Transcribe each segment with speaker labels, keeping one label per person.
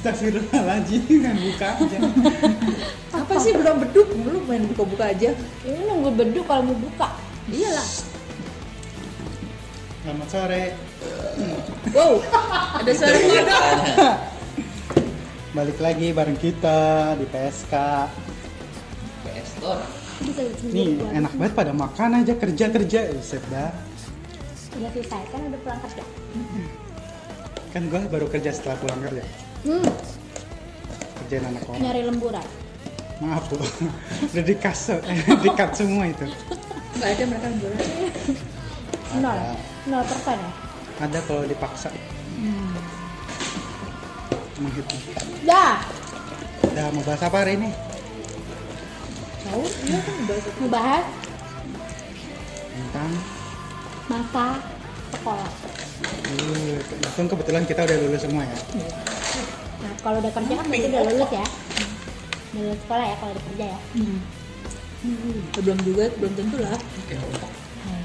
Speaker 1: Astagfirullahaladzim kan buka aja.
Speaker 2: Apa sih belum beduk? Lu main buka-buka aja.
Speaker 3: Ini nunggu beduk kalau mau buka.
Speaker 2: Iyalah.
Speaker 1: Selamat sore.
Speaker 2: Wow, ada suara kodok.
Speaker 1: Balik lagi bareng kita di PSK.
Speaker 4: PS Store
Speaker 3: Bisa
Speaker 1: Nih enak banget pada makan aja kerja kerja. Usep dah.
Speaker 3: Udah selesai kan udah pulang kerja.
Speaker 1: Kan gua baru kerja setelah pulang kerja.
Speaker 3: Hmm,
Speaker 1: Kerjaan anak orang.
Speaker 3: nyari lemburan.
Speaker 1: Maaf bu. Udah di kaso, di cut semua itu.
Speaker 2: Enggak ada mereka liburan.
Speaker 3: Nol,
Speaker 1: Ada.
Speaker 3: nol persen ya.
Speaker 1: Ada kalau dipaksa. Hmm. Emang gitu.
Speaker 3: Dah,
Speaker 1: Udah mau bahas apa hari ini?
Speaker 2: Tahu? Iya kan bahasa.
Speaker 3: ngebahas
Speaker 1: Tentang
Speaker 3: masa sekolah.
Speaker 1: Uh, untung kebetulan kita udah lulus semua ya.
Speaker 3: Nah, kalau udah kerja kan berarti udah lulus ya. Udah lulus sekolah ya kalau udah kerja ya.
Speaker 2: Hmm, belum juga, belum tentu lah.
Speaker 3: Hmm.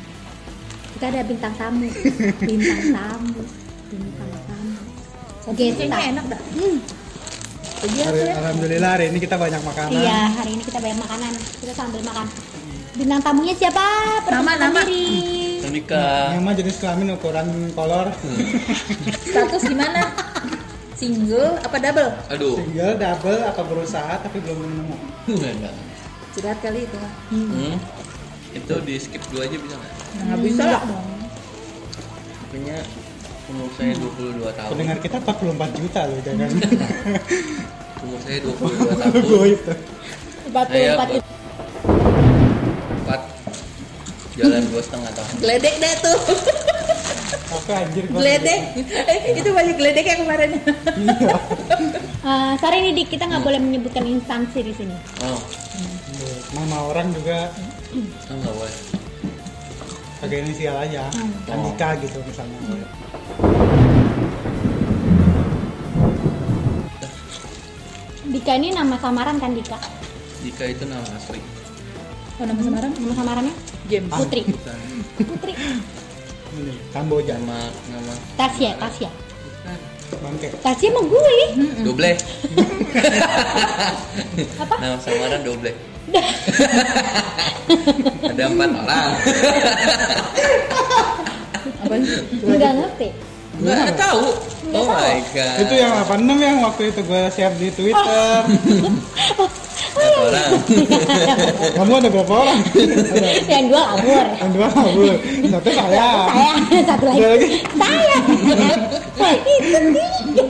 Speaker 3: Kita ada bintang tamu, bintang tamu, bintang tamu. Oke,
Speaker 2: Kayaknya enak dah.
Speaker 3: Hmm.
Speaker 2: Iya,
Speaker 1: Hari- Alhamdulillah hari ini kita banyak makanan.
Speaker 3: Iya, hari ini kita banyak makanan. Kita sambil makan. Bintang tamunya siapa? Perkenalkan
Speaker 2: nama.
Speaker 3: diri.
Speaker 4: Tonika
Speaker 1: Yang mah jenis kelamin ukuran kolor,
Speaker 2: Status gimana? Single apa double?
Speaker 4: Aduh
Speaker 1: single, double atau berusaha tapi belum nemu.
Speaker 4: Enggak.
Speaker 2: Curhat kali itu mah.
Speaker 4: hmm. Itu di skip dulu aja bisa nggak?
Speaker 2: Enggak bisa lah.
Speaker 4: Pokoknya umur saya 22 tahun
Speaker 1: Pendengar kita 44 juta loh jangan
Speaker 4: Umur saya 22
Speaker 1: gue
Speaker 4: tahun
Speaker 1: itu.
Speaker 3: 44
Speaker 4: Ayo,
Speaker 3: itu.
Speaker 4: 4 Jalan dua setengah tahun
Speaker 2: Geledek deh tuh.
Speaker 1: Apa anjir gua-
Speaker 2: Geledek. Eh, itu banyak geledek yang kemarin.
Speaker 1: Iya.
Speaker 3: Eh, sorry nih Dik, kita nggak
Speaker 4: Iya.
Speaker 3: boleh menyebutkan instansi di sini.
Speaker 4: Oh,
Speaker 1: Nama orang juga
Speaker 4: enggak boleh
Speaker 1: pakai inisial aja. Andika gitu misalnya.
Speaker 3: Dika ini nama samaran kan Dika?
Speaker 4: Jika itu nama asli
Speaker 2: Oh, nama Ah, samaran
Speaker 3: Nama samarannya
Speaker 2: James.
Speaker 3: Putri.
Speaker 4: Ah, Bukan
Speaker 3: Putri.
Speaker 1: Ini Kamboja,
Speaker 4: Nama Nama
Speaker 3: Tasya, Tasya.
Speaker 4: Bukan
Speaker 1: bangke.
Speaker 3: Tasya mau gue.
Speaker 4: Doble
Speaker 3: Apa?
Speaker 4: Nama samaran Doble
Speaker 3: Dah.
Speaker 4: Ada empat orang
Speaker 2: Apa sih?
Speaker 3: Nggak ngerti.
Speaker 4: Enggak tahu
Speaker 3: Nggak
Speaker 4: Oh my god
Speaker 1: Itu yang 86 yang waktu itu gue share di Twitter.
Speaker 3: Oh,
Speaker 4: Empat orang
Speaker 1: Kamu ada berapa orang?
Speaker 3: Yang dua labur.
Speaker 1: Yang dua kabur. Satu saya.
Speaker 3: Saya satu
Speaker 1: Ada
Speaker 3: lagi.
Speaker 1: lagi?
Speaker 3: Saya. Itu tiga.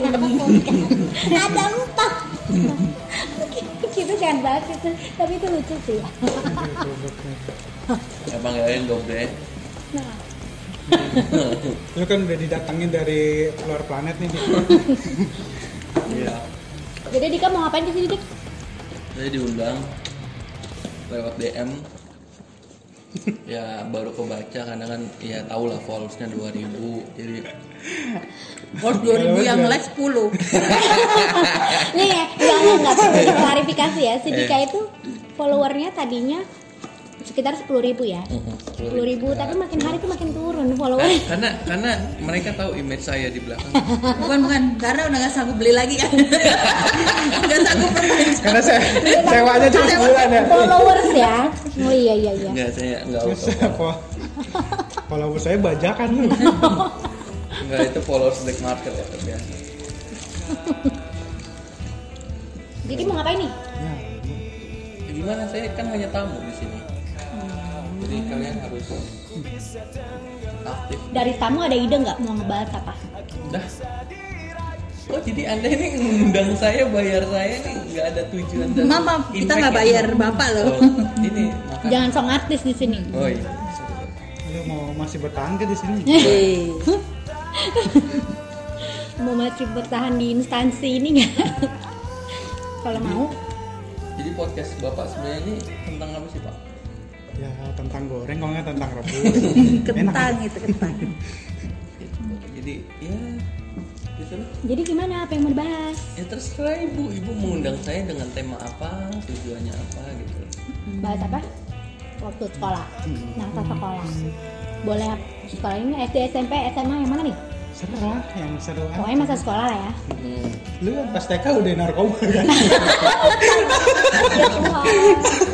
Speaker 3: Ada empat. Kita jangan bahas itu, tapi itu lucu sih.
Speaker 4: Ya panggilannya Doble
Speaker 3: Nah,
Speaker 1: Lu kan udah didatengin dari luar planet nih. Dik.
Speaker 4: Iya
Speaker 3: jadi Dika mau ngapain di sini Dik?
Speaker 4: Saya diundang lewat DM. ya baru kebaca karena kan ya tau lah followersnya 2000 jadi
Speaker 2: Worth 2000 yang like 10.
Speaker 3: Nih, ya, enggak enggak enggak perlu klarifikasi ya. Si Dika itu followernya tadinya sekitar 10.000 ya.
Speaker 4: Mhm,
Speaker 3: 10.000 tapi makin hari tuh makin turun
Speaker 4: Nah,
Speaker 3: followernya.
Speaker 4: karena karena mereka tahu image saya di belakang
Speaker 2: Bukan, bukan. Karena udah gak sanggup beli lagi kan. Gak sanggup perpanjang.
Speaker 1: Karena saya sewanya cuma sebulan ya.
Speaker 3: Followers ya. Oh iya iya iya.
Speaker 4: enggak saya enggak
Speaker 1: Terus
Speaker 4: auto follow.
Speaker 1: apa? Follower saya bajakan lu.
Speaker 4: enggak itu followers black market ya terbiasa
Speaker 3: Jadi mau ngapain nih?
Speaker 4: ya, gimana saya kan hanya tamu di sini jadi kalian harus aktif
Speaker 3: Dari tamu ada ide nggak mau ngebahas apa?
Speaker 4: dah oh jadi anda ini ngundang saya bayar saya nih nggak ada tujuan dan
Speaker 2: Mama, kita
Speaker 4: impact
Speaker 2: nggak
Speaker 4: ya.
Speaker 2: bayar bapak loh. Ya.
Speaker 4: Oh, ini makan
Speaker 3: Jangan song artis di sini.
Speaker 4: oh iya
Speaker 1: Lu mau masih bertahan ke di sini?
Speaker 2: Hei.
Speaker 3: Mau masih bertahan di instansi ini nggak? Kalau mau,
Speaker 4: jadi podcast bapak sebenarnya ini tentang apa sih pak
Speaker 1: Ya tentang goreng kalau nggak tentang rebus.
Speaker 2: Kentang itu kentang.
Speaker 4: Gitu. jadi ya gitu lah
Speaker 3: jadi gimana? Apa yang mau dibahas?
Speaker 4: ya terserah ibu ibu mengundang saya dengan tema apa tujuannya apa gitu
Speaker 3: Bahas apa? Waktu Nah, sekolah, masa sekolah. Boleh sekolah ini SD, SMP, SMA yang mana nih?
Speaker 1: seru lah yang seru aja.
Speaker 3: Pokoknya masa sekolah lah ya.
Speaker 4: Hmm.
Speaker 1: lu kan pas TK udah narkoba kan
Speaker 3: Ya Tuhan.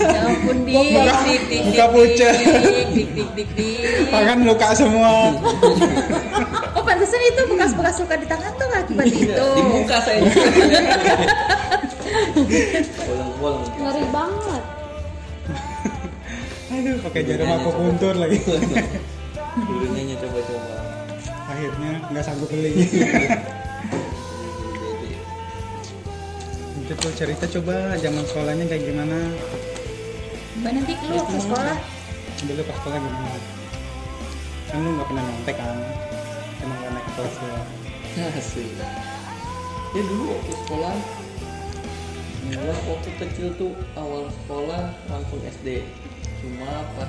Speaker 2: Ya ampun dik,
Speaker 1: Buka-
Speaker 2: dik, dik,
Speaker 1: buka
Speaker 2: dik,
Speaker 1: pucet.
Speaker 2: dik, dik, dik, dik, dik.
Speaker 1: tangan luka semua
Speaker 2: Oh pantesan itu bekas-bekas luka di tangan tuh akibat itu.
Speaker 4: Di muka saya. Bolong-bolong.
Speaker 3: Ngeri banget.
Speaker 1: aduh pakai jarum aku kuntur lagi
Speaker 4: Dulu nanya coba-coba.
Speaker 1: akhirnya nggak sanggup beli itu tuh cerita coba zaman sekolahnya kayak gimana
Speaker 2: Mbak nanti lu waktu sekolah
Speaker 1: dulu pas sekolah gimana kan lu nggak pernah nyontek kan cuma nggak naik kelas doang
Speaker 4: Asik. Ya dulu waktu sekolah Gua waktu kecil tuh awal sekolah langsung SD Cuma pas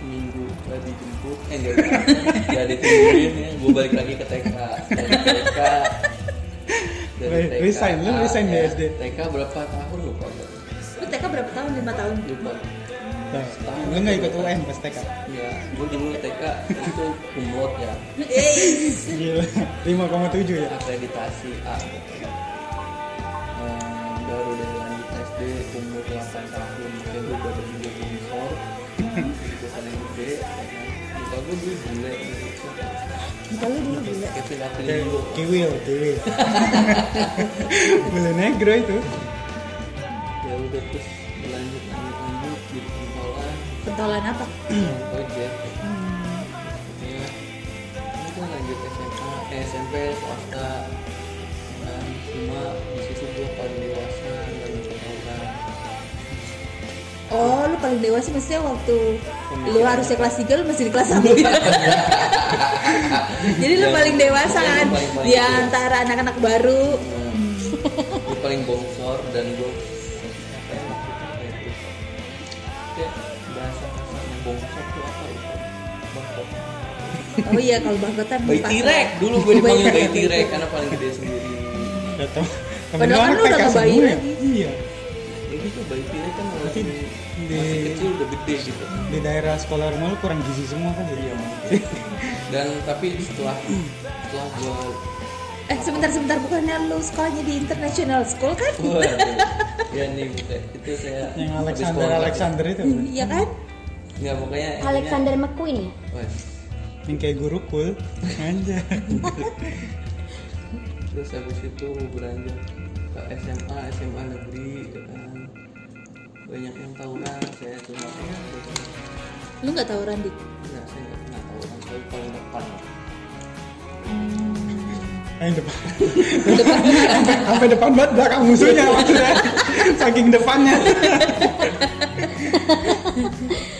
Speaker 4: seminggu gak dijemput Eh gak, gak ditungguin ya Gue balik lagi ke TK Dari TK
Speaker 1: Re- resign, lu resign dari SD.
Speaker 4: TK Ya, berapa tahun lupa gua.
Speaker 2: lu TK berapa tahun? 5 tahun.
Speaker 4: Lupa
Speaker 1: Nah, lu nggak ikut UN pas TK
Speaker 4: Ya, gue dulu TK itu kumlot ya
Speaker 2: Eh,
Speaker 1: gila 5,7 ya
Speaker 4: akreditasi A Nah, baru dari lanjut SD umur 8 tahun saya gue udah berjumpa sponsor bukan yang gede ya kan. muka gue dulu gile gitu
Speaker 2: muka lu dulu gila.
Speaker 4: kecil aku
Speaker 1: Oke,
Speaker 4: dulu
Speaker 1: kiwil kiwil beli negro itu
Speaker 4: ya udah terus lanjut lanjut lanjut di sekolah
Speaker 2: Pentolan apa?
Speaker 4: ojek ya itu lanjut SMA eh, SMP swasta Nah, cuma di situ gue paling dewasa dan orang
Speaker 2: Oh, lu paling dewasa maksudnya waktu lu harusnya kelas 3 lu masih di kelas 1. Jadi lu paling dewasa kan di antara anak-anak baru.
Speaker 4: gue Hmm. paling bongsor dan gue apa ya maksudnya apa itu kayak bahasa kasarnya bongsor tuh apa itu bangkok
Speaker 2: Oh iya kalau bangkotan
Speaker 4: bayi
Speaker 2: pas-
Speaker 4: tirek dulu gue dipanggil
Speaker 2: Bayi
Speaker 4: bayi tirek karena paling gede sendiri
Speaker 1: datang
Speaker 2: Padahal kan lu udah nggak bayi lagi.
Speaker 1: iya
Speaker 4: jadi tuh bayi tirek kan masih masih
Speaker 1: Di-
Speaker 4: kecil udah gede gitu
Speaker 1: di daerah sekolah rumah lu kurang gizi semua kan jadi
Speaker 4: dan tapi setelah setelah gue
Speaker 2: Eh sebentar sebentar bukannya lu sekolahnya di international school kan?
Speaker 4: Waduh, ya nih bukan itu saya
Speaker 1: yang
Speaker 4: habis
Speaker 1: Alexander
Speaker 4: sekolah.
Speaker 1: Alexander itu kan?
Speaker 2: Iya kan?
Speaker 4: nggak pokoknya intinya-
Speaker 3: Alexander McQueen ya.
Speaker 4: Wes.
Speaker 1: yang kayak gurukul anjay
Speaker 4: terus habis itu gue beranjak ke SMA SMA negeri ya kan banyak yang tawuran saya cuma
Speaker 2: Lu nggak tahu Randi?
Speaker 4: gitu kan. nggak saya nggak pernah tawuran saya paling depan
Speaker 1: yang depan sampai, sampai depan banget belakang musuhnya maksudnya saking depannya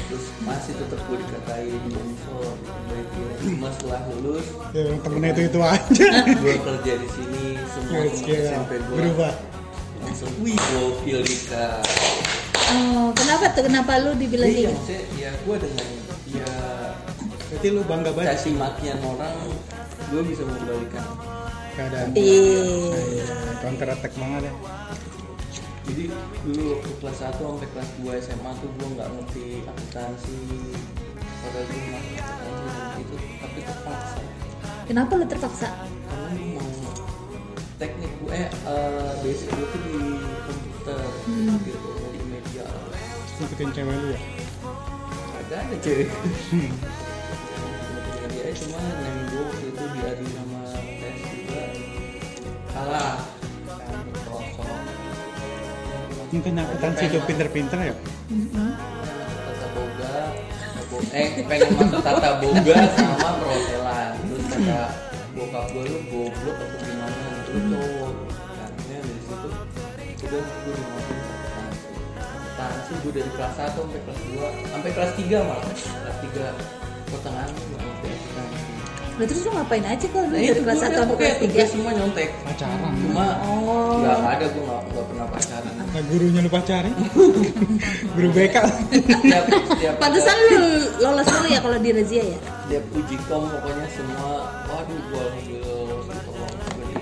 Speaker 4: terus masih tetap gue dikatain bongsor baik ya cuma setelah lulus
Speaker 1: ya yang temennya itu itu aja
Speaker 4: gue kerja di sini semua
Speaker 1: Wih,
Speaker 4: teman
Speaker 1: gila.
Speaker 4: SMP gue
Speaker 1: berubah
Speaker 4: langsung wih gokil Dika
Speaker 2: Oh, kenapa tuh? Kenapa lu dibilang
Speaker 4: iya
Speaker 2: gitu?
Speaker 4: maksudnya ya gue dengan ya
Speaker 1: berarti lu bangga banget
Speaker 4: caci makian orang gue bisa membalikan
Speaker 1: keadaan
Speaker 2: Eh,
Speaker 1: counter attack banget ya
Speaker 4: Jadi dulu waktu kelas 1 sampai kelas 2 SMA tuh gue nggak ngerti akuntansi Padahal gue masuk akuntansi dan itu tapi terpaksa
Speaker 2: kenapa lu terpaksa?
Speaker 4: Karena gue mau teknik gue, eh eh, basic gue tuh di komputer
Speaker 1: Hmm.
Speaker 4: gitu, di media
Speaker 1: ngikutin cewek lu ya
Speaker 4: Agak ada cewek Kebetulan dia cuma nyanyi gue waktu itu diadu sama tes juga Kalah Kan, kosong
Speaker 1: mungkin akuntansi itu pinter-pinter ya
Speaker 4: Tata Boga, Tata Bo- eh pengen masuk Tata Boga sama perhotelan terus kata bokap gue lu goblok atau gimana itu cowok akhirnya dari situ udah gue dimasukin ke akuntansi akuntansi gue dari kelas 1 sampai kelas 2 sampai kelas 3 malah kelas 3 pertengahan gue nggak ngerti akuntansi
Speaker 2: Lu terus lu ngapain aja kalau lu
Speaker 4: nah
Speaker 2: dari
Speaker 4: itu
Speaker 2: kelas 1 sampai kelas
Speaker 4: tiga
Speaker 2: 3?
Speaker 4: semua nyontek
Speaker 1: pacaran
Speaker 4: cuma
Speaker 2: Oh.
Speaker 4: nggak ada gue nggak nggak pernah pacaran
Speaker 1: nah, gurunya lu pacarin guru BK
Speaker 4: setiap setiap
Speaker 2: Pantesan lu lolos dulu ya kalau di razia ya?
Speaker 4: dia puji kom pokoknya semua waduh gua alhamdulillah lolos gitu loh Jadi,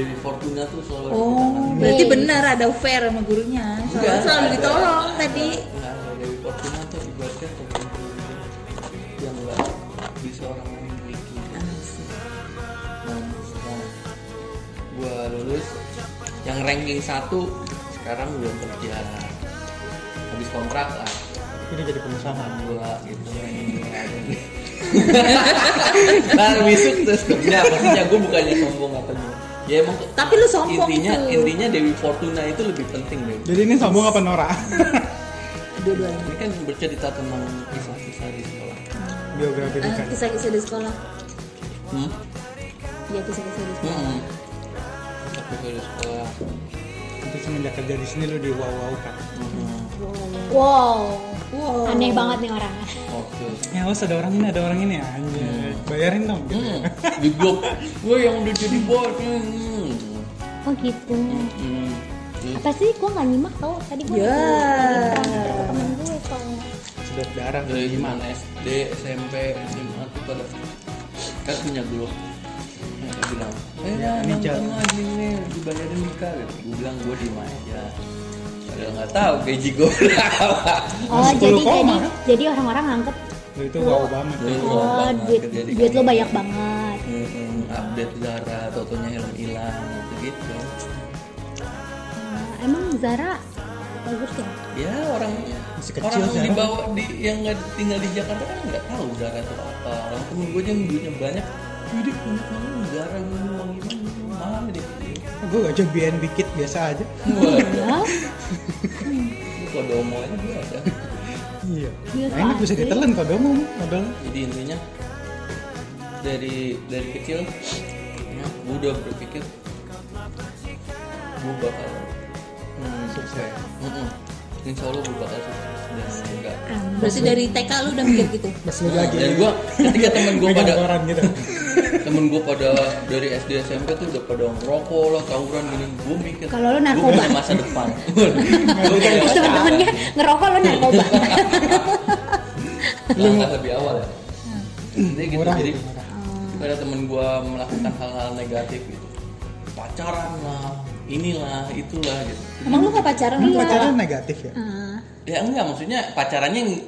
Speaker 4: dari Fortuna tuh selalu ada di
Speaker 2: Oh,
Speaker 4: tangan.
Speaker 2: berarti
Speaker 3: Nih.
Speaker 2: benar ada fair sama gurunya. Soalnya
Speaker 4: Enggak,
Speaker 2: selalu
Speaker 4: ada.
Speaker 2: ditolong tadi.
Speaker 4: Enggak, enggak. dari Nah, Fortuna tuh ibaratnya pemimpin yang enggak bisa orang lain miliki
Speaker 2: Asik.
Speaker 4: gue lulus yang ranking satu sekarang belum kerja habis kontrak lah
Speaker 1: Ini jadi pengusaha.
Speaker 4: dua gitu Ntar wisuk terus Nah maksudnya gue bukannya sombong apa gimana Ya emang
Speaker 2: Tapi lu sombong gitu.
Speaker 4: intinya,
Speaker 2: itu.
Speaker 4: Intinya Dewi Fortuna itu lebih penting deh
Speaker 1: Jadi ini sombong apa Nora?
Speaker 2: dua-duanya
Speaker 4: Ini kan bercerita tentang kisah-kisah di sekolah
Speaker 1: Biografi
Speaker 2: Ah,
Speaker 1: bukan.
Speaker 2: kisah-kisah di sekolah
Speaker 4: Hmm?
Speaker 2: ya kisah-kisah di sekolah
Speaker 4: Hmm. Kisah-kisah di sekolah
Speaker 1: Nanti semenjak kerja di sini lu di wow wow kan.
Speaker 4: Hmm.
Speaker 3: Wow.
Speaker 2: wow
Speaker 3: Aneh banget nih orang.
Speaker 4: Oke
Speaker 1: Ya awas ada orang ini ada orang ini anjir. Bayarin dong. gitu.
Speaker 4: Hmm, di blok gue yang udah jadi bos hmm.
Speaker 3: Oh gitu.
Speaker 4: Hmm. Hmm.
Speaker 3: Apa sih gue nggak nyimak tau tadi gue
Speaker 2: Ya.
Speaker 3: temen gue tau.
Speaker 1: Sedot darah
Speaker 4: dari gimana SD SMP SMA tuh pada kan punya grup Mereka bilang eh
Speaker 1: Ya, ini
Speaker 4: nonton
Speaker 1: jalan.
Speaker 4: lah ini nih dibayarin nikah gitu gue bilang gue di mana aja padahal nggak tahu gaji gue berapa
Speaker 3: Oh
Speaker 1: 10
Speaker 3: jadi jadi
Speaker 1: koma.
Speaker 3: jadi orang-orang anggap
Speaker 1: Lu itu wow banget.
Speaker 4: Lu itu wow
Speaker 3: oh,
Speaker 4: banget,
Speaker 3: duit
Speaker 4: kerja di
Speaker 3: duit lo
Speaker 4: kantor.
Speaker 3: banyak banget.
Speaker 4: Mm-mm, Hmm, update Zara totonya helm hilang gitu gitu
Speaker 3: Ah, emang Zara bagus ya?
Speaker 4: ya orang
Speaker 1: Masih kecil,
Speaker 4: orang yang
Speaker 1: Zara.
Speaker 4: dibawa di yang nggak tinggal di Jakarta kan nggak tahu Zara itu apa orang temen gue aja yang duitnya banyak Widih, banyak banget Zara ini uang gimana mahal deh
Speaker 1: Gue gak cobain dikit biasa aja.
Speaker 4: Waduh,
Speaker 3: Hah?
Speaker 4: ini kodomo aja gue ada.
Speaker 1: Iya.
Speaker 3: Iya,
Speaker 1: Nah, ini bisa
Speaker 3: pasti.
Speaker 1: ditelan kalau mau modal.
Speaker 4: Jadi intinya dari dari kecil ya, gue udah berpikir gue bakal hmm, sukses. Mm-mm. Insya Allah gue bakal sukses dan enggak.
Speaker 2: berarti dari TK lu udah mikir gitu
Speaker 1: Masih
Speaker 4: Nah,
Speaker 1: lagi.
Speaker 4: dan gue ketika temen gue
Speaker 1: megang
Speaker 4: pada
Speaker 1: koran gitu.
Speaker 4: temen gue pada dari SD SMP tuh udah pada ngerokok lah tawuran gini gue mikir
Speaker 3: Kalau lo
Speaker 4: gua
Speaker 3: narkoba.
Speaker 4: punya masa depan gue punya masa depan
Speaker 3: Temen-temennya ngerokok lo narkoba.
Speaker 4: Iya. langkah lebih awal ya jadi gitu
Speaker 1: Murah,
Speaker 4: jadi
Speaker 1: gitu, murah.
Speaker 4: ada temen gue melakukan hal-hal negatif gitu pacaran lah inilah itulah gitu
Speaker 2: emang lu gak pacaran
Speaker 1: Emang
Speaker 2: lu
Speaker 1: pacaran negatif ya?
Speaker 3: Ah.
Speaker 4: ya enggak maksudnya pacarannya yang-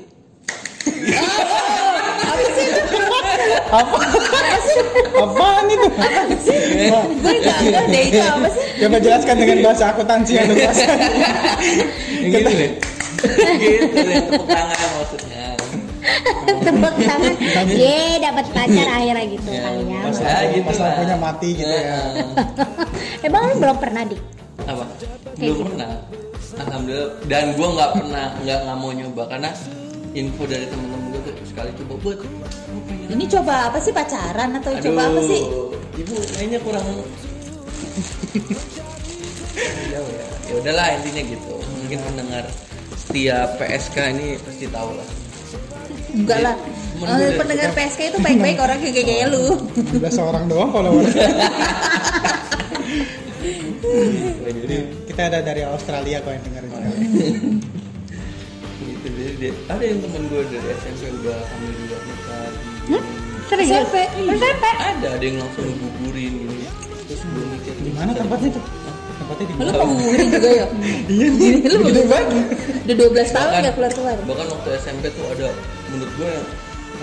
Speaker 1: Apaan itu?
Speaker 2: gue gak ngerti deh itu apa sih
Speaker 1: Coba jelaskan dengan bahasa Anu. akuntansi yang lu kuasain.
Speaker 4: yang gitu deh gitu deh tepuk tangan maksudnya
Speaker 3: tepuk tangan ye dapat pacar akhirnya gitu
Speaker 4: Ya,
Speaker 3: kali ya
Speaker 1: Pas
Speaker 4: Ya,
Speaker 1: lampu-
Speaker 4: gitu
Speaker 1: pas
Speaker 4: lah.
Speaker 1: lampunya mati gitu ya.
Speaker 3: emang lu belum pernah dik
Speaker 4: apa belum pernah alhamdulillah dan gue nggak pernah nggak nggak mau nyoba karena info dari temen-temen gue tuh sekali coba buat gue pengen
Speaker 2: ini coba apa sih pacaran atau coba apa sih
Speaker 4: Ibu kayaknya kurang jauh ya. Ya udahlah intinya gitu. Mungkin mendengar setiap PSK ini pasti tahu lah.
Speaker 2: enggak lah
Speaker 4: Menurut
Speaker 2: Eh,
Speaker 4: gue-
Speaker 2: pendengar PSK itu baik-baik orang kayak kayak lu
Speaker 1: 16 orang doang follower.
Speaker 4: Jadi
Speaker 1: Kita ada dari Australia kok yang dengerin.
Speaker 4: gitu jadi dia- ada yang temen gue dari SMP udah hamil dua nikah.
Speaker 3: serius Iya.
Speaker 2: SMP.
Speaker 3: SMP
Speaker 4: Ada ada yang langsung gugurin gitu. Terus gue mikir
Speaker 1: Di mana tempatnya tuh? Tempatnya di
Speaker 2: lu
Speaker 1: mana?
Speaker 2: pengurin juga ya
Speaker 1: Iya, di
Speaker 2: Lu
Speaker 1: gede
Speaker 2: belum-
Speaker 1: banget.
Speaker 2: udah 12 tahun
Speaker 4: Bahkan-
Speaker 2: gak keluar-keluar
Speaker 4: bahkan waktu SMP tuh ada menurut gue yang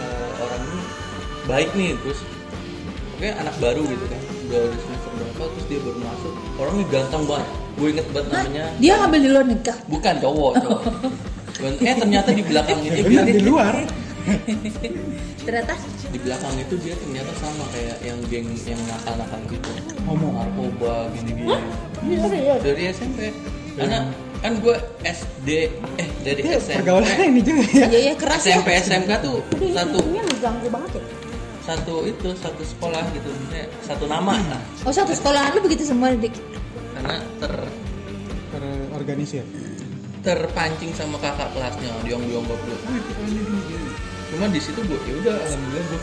Speaker 4: eh, orang ini baik nih terus pokoknya anak baru gitu kan udah udah semester berapa terus dia baru masuk orangnya ganteng banget gue inget banget
Speaker 2: Hah?
Speaker 4: namanya
Speaker 2: dia ngambil di luar nikah
Speaker 4: bukan cowok cowok Dan- eh ternyata di belakang itu dia
Speaker 1: Bener di luar.
Speaker 2: ternyata
Speaker 4: di belakang itu dia ternyata sama kayak yang geng yang nakal-nakal gitu
Speaker 1: Ngomong.
Speaker 4: narkoba gini-gini
Speaker 3: Iya, serius
Speaker 4: dari SMP karena kan gue SD eh dari
Speaker 1: Iya,
Speaker 4: SMP
Speaker 1: Pergaulannya ini juga ya.
Speaker 2: iya iya keras ya
Speaker 4: SMP SMK tuh satu
Speaker 3: ini mengganggu banget ya
Speaker 4: satu itu satu sekolah gitu maksudnya satu nama lah.
Speaker 2: oh satu sekolahan lu begitu semua dik
Speaker 4: karena ter
Speaker 1: Terorganisir.
Speaker 4: terpancing sama kakak kelasnya diong diong goblok Wih, pokoknya gini, gini. cuma di situ gue ya udah alhamdulillah gue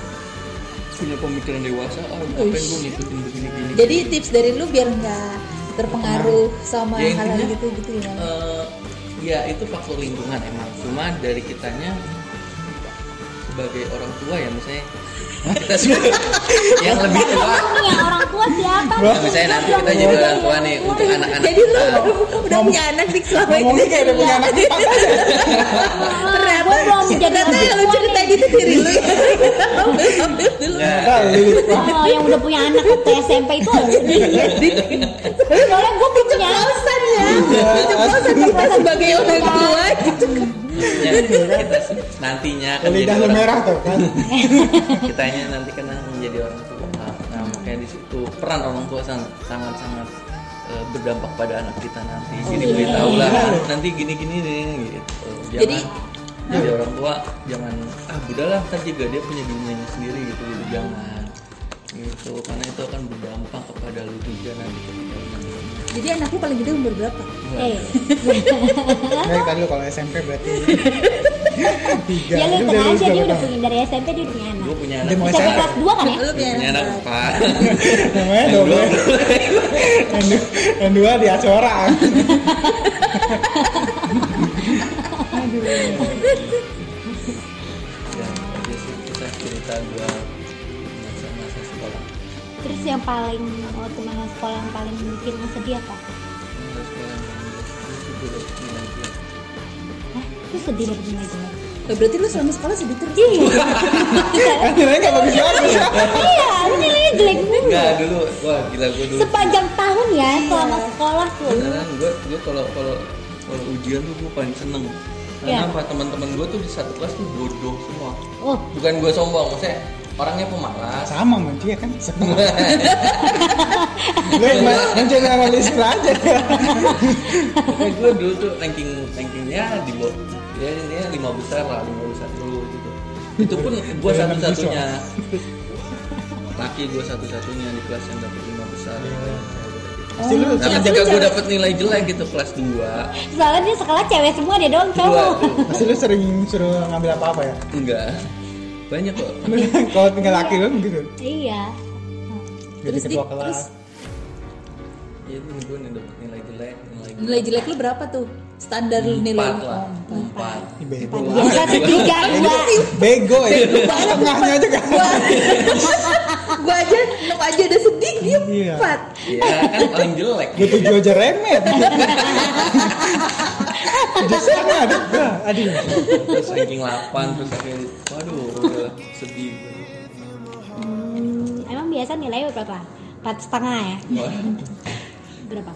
Speaker 4: punya pemikiran dewasa ah ngapain
Speaker 2: Uish.
Speaker 4: gue ngikutin begini gini
Speaker 2: jadi tips dari lu biar nggak terpengaruh sama
Speaker 4: Ya,
Speaker 2: hal-hal
Speaker 4: intinya,
Speaker 2: gitu gitu gimana
Speaker 4: Eh, ya itu faktor lingkungan emang cuma dari kitanya sebagai orang tua ya misalnya kita sebagai yang lebih tua
Speaker 3: ini yang orang tua siapa
Speaker 1: Wah.
Speaker 4: Nah, misalnya nanti kita jadi orang tua nih untuk anak-anak
Speaker 2: jadi lu,
Speaker 4: kita.
Speaker 2: lu udah punya anak dik selama ini
Speaker 1: Ngomongnya kayak udah punya anak empat aja.
Speaker 3: ternyata belum jadi orang
Speaker 2: ternyata yang lu
Speaker 3: tua
Speaker 2: cerita
Speaker 3: nih.
Speaker 2: gitu diri lu ya ambil ambil dulu
Speaker 4: enggak
Speaker 1: Tahu, Lilith. Wah,
Speaker 3: Kalau Oh, yang udah punya anak waktu SMP itu harus sedih. Soalnya gue belum punya anak.
Speaker 2: Bosan ya,
Speaker 3: Iya.
Speaker 2: itu bosan kita sebagai orang tua gitu.
Speaker 4: Ya, kita se- nantinya akan jadi
Speaker 1: Iya, lidah lu
Speaker 4: orang-
Speaker 1: merah tuh kan
Speaker 4: kitanya nanti kan menjadi orang tua nah makanya di situ peran orang tua sangat sangat sangat eh, berdampak pada anak kita nanti jadi
Speaker 3: iya.
Speaker 4: beritahu lah
Speaker 1: Oh, Iya.
Speaker 4: nanti gini gini nih gitu jangan jadi,
Speaker 2: Jadi-
Speaker 1: ah.
Speaker 4: orang tua jangan ah udahlah kan juga dia punya dunianya sendiri gitu gitu jangan gitu karena itu akan berdampak kepada lu juga nanti ketika lu nanti
Speaker 2: Jadi anakku paling gede umur berapa?
Speaker 3: Eh,
Speaker 1: Baik, Nah, tadi lu kalau SMP berarti tiga
Speaker 3: ya lu
Speaker 1: Lu
Speaker 3: tenang
Speaker 1: dari
Speaker 3: aja dia udah
Speaker 1: berapa tahun?
Speaker 3: punya dari SMP dia udah punya anak.
Speaker 4: gue punya
Speaker 1: Dia
Speaker 4: anak
Speaker 1: mau
Speaker 3: SMP
Speaker 1: SMA.
Speaker 3: kelas 2 kan ya?
Speaker 2: Lu
Speaker 4: Gua
Speaker 2: punya
Speaker 4: punya anak
Speaker 2: anak berapa?
Speaker 4: empat
Speaker 1: namanya
Speaker 4: Yang
Speaker 1: double
Speaker 4: dua-
Speaker 1: yang dua, yang dua di acorang
Speaker 4: ya itu sih kisah cerita gue masa-masa sekolah
Speaker 3: Terus yang paling waktu masa sekolah yang paling bikin lu sedih apa?
Speaker 4: Masa sekolah yang itu dulu sembilan
Speaker 3: Hah? Lu sedih dari gimana gimana?
Speaker 2: Lah, Eh, Berarti lu selama sekolah sedih terus.
Speaker 1: kan nilainya nggak bagus bagus ya
Speaker 3: Iya, lu nilainya jelek mulu.
Speaker 4: Enggak dulu, wah gila gue dulu.
Speaker 3: Sepanjang tahun ya selama sekolah tuh.
Speaker 4: Sekarang gue gue kalau kalau kalau ujian tuh gue paling seneng. Karena
Speaker 3: Iya.
Speaker 4: apa teman-teman gue tuh di satu kelas tuh bodoh semua.
Speaker 3: Oh,
Speaker 4: Bukan gue sombong, maksudnya orangnya pemalas.
Speaker 1: sama manusia kan sekolah lu yang ma- muncul sama Listra aja
Speaker 4: Pokoknya gue dulu tuh ranking rankingnya di bawah ya ini lima besar lah lima besar dulu gitu. Itu pun gue
Speaker 1: Bayangan
Speaker 4: satu-satunya laki gue satu-satunya di kelas yang dapet lima besar.
Speaker 1: pasti lu
Speaker 4: Nah, ketika gue dapet nilai jelek gitu kelas 2
Speaker 3: soalnya dia sekolah cewek semua dia doang
Speaker 4: dua
Speaker 3: cowok.
Speaker 4: tuh
Speaker 1: pasti lu sering suruh ngambil apa apa ya
Speaker 4: enggak banyak kok
Speaker 1: Lu kalau tinggal laki lu gitu
Speaker 3: Iya.
Speaker 1: jadi
Speaker 2: Terus di,
Speaker 1: ketua
Speaker 2: terus
Speaker 1: kelas
Speaker 4: Iya nih gue nih dapet nilai jelek, nilai jelek.
Speaker 2: nilai jelek lu berapa tuh? Standar lu nilai.
Speaker 4: Empat lah,
Speaker 2: Oh, empat.
Speaker 4: empat.
Speaker 1: Ih, bego
Speaker 3: Biasa tiga dua.
Speaker 1: bego ya tengahnya aja kan
Speaker 2: Gua aja enam aja udah sedih dia
Speaker 1: Iya.
Speaker 2: empat.
Speaker 4: Iya kan paling jelek.
Speaker 1: gue tujuh aja remet justru ada gua aduh
Speaker 4: Terus ranking 8 terus akhirnya, waduh, udah sedih.
Speaker 3: Hmm, emang biasa nilainya berapa? Empat setengah ya?
Speaker 4: Wah,
Speaker 3: Berapa?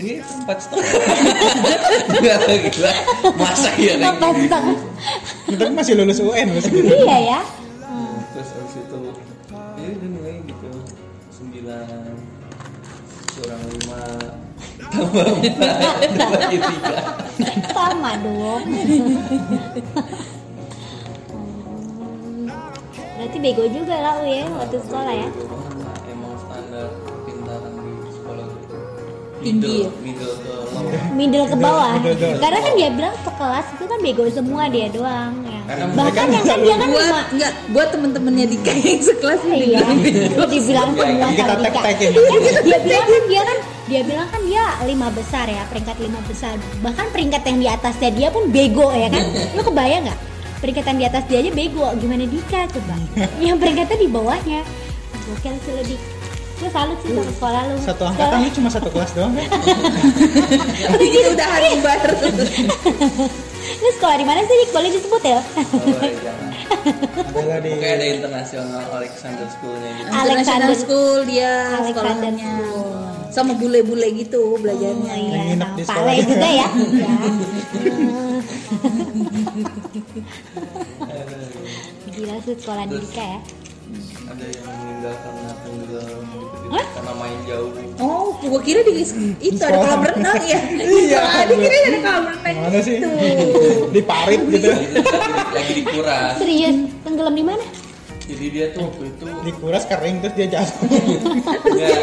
Speaker 4: Ini empat setengah. Gila, gila. Masa ya
Speaker 3: Empat
Speaker 4: ranking.
Speaker 3: setengah.
Speaker 1: tapi masih lulus UN masih gitu
Speaker 3: Iya ya.
Speaker 4: Terus abis itu, ya udah nilai gitu sembilan kurang lima tambah empat tambah tiga.
Speaker 3: Sama dong. Hmm, Berarti bego juga lah U ya waktu sekolah ya.
Speaker 4: Bego banget lah, Emang standar pintaran di sekolah gitu.
Speaker 2: Tinggi
Speaker 4: Middle,
Speaker 2: ya?
Speaker 4: middle
Speaker 3: Middle ke
Speaker 4: ke bawah.
Speaker 3: bawah.
Speaker 1: Middle, middle.
Speaker 3: Karena kan dia bilang sekelas itu kan bego semua dia doang ya.
Speaker 4: Karena
Speaker 3: Bahkan
Speaker 1: mereka
Speaker 3: yang kan dia kan
Speaker 2: Gua
Speaker 3: cuma
Speaker 2: enggak, gua temen-temennya di kayak sekelas lu
Speaker 3: Iya,
Speaker 2: dibilang bego.
Speaker 3: dibilang semua
Speaker 1: Kita ya."
Speaker 3: sama Dika.
Speaker 1: tek-tekin.
Speaker 3: Kan Dia bilang kan dia kan dia bilang kan dia lima besar ya, peringkat lima besar. Bahkan peringkat yang di atasnya dia pun bego ya kan. Lu kebayang nggak? Peringkat yang di atas dia aja bego, gimana Dika coba? Yang peringkatnya di bawahnya. Gokil sih lo Dik. Gue salut sih sama sekolah lu.
Speaker 1: Uh, satu angkatan lu cuma satu kelas doang kan
Speaker 2: Gitu udah hari baru.
Speaker 3: Lu sekolah di mana sih Dik? Boleh disebut ya?
Speaker 4: Boleh, jangan.
Speaker 1: adalah di
Speaker 4: Pokoknya ada internasional Alexander School-nya gitu.
Speaker 3: Ah.
Speaker 2: International school dia
Speaker 3: Alexander
Speaker 2: sekolahnya.
Speaker 3: School.
Speaker 2: Sama bule-bule
Speaker 3: Oh,
Speaker 2: gitu belajarnya.
Speaker 3: iya,
Speaker 1: nginep di
Speaker 3: pale
Speaker 1: sekolah.
Speaker 3: juga ya. ya. Gila sih sekolah di Dika ya.
Speaker 4: Ada yang meninggal karena tenggelam gitu-gitu.
Speaker 3: Hah?
Speaker 4: Karena main jauh.
Speaker 2: Oh, gua kira di itu
Speaker 1: sekolah.
Speaker 2: ada kolam renang ya.
Speaker 1: Iya.
Speaker 2: Ah, Di kira ada kolam renang.
Speaker 1: mana sih
Speaker 2: gitu.
Speaker 1: di parit gitu
Speaker 4: Lagi di kuras.
Speaker 3: Serius tenggelam di mana?
Speaker 4: Jadi dia tuh waktu itu
Speaker 1: dikuras kering terus dia jatuh
Speaker 4: dia,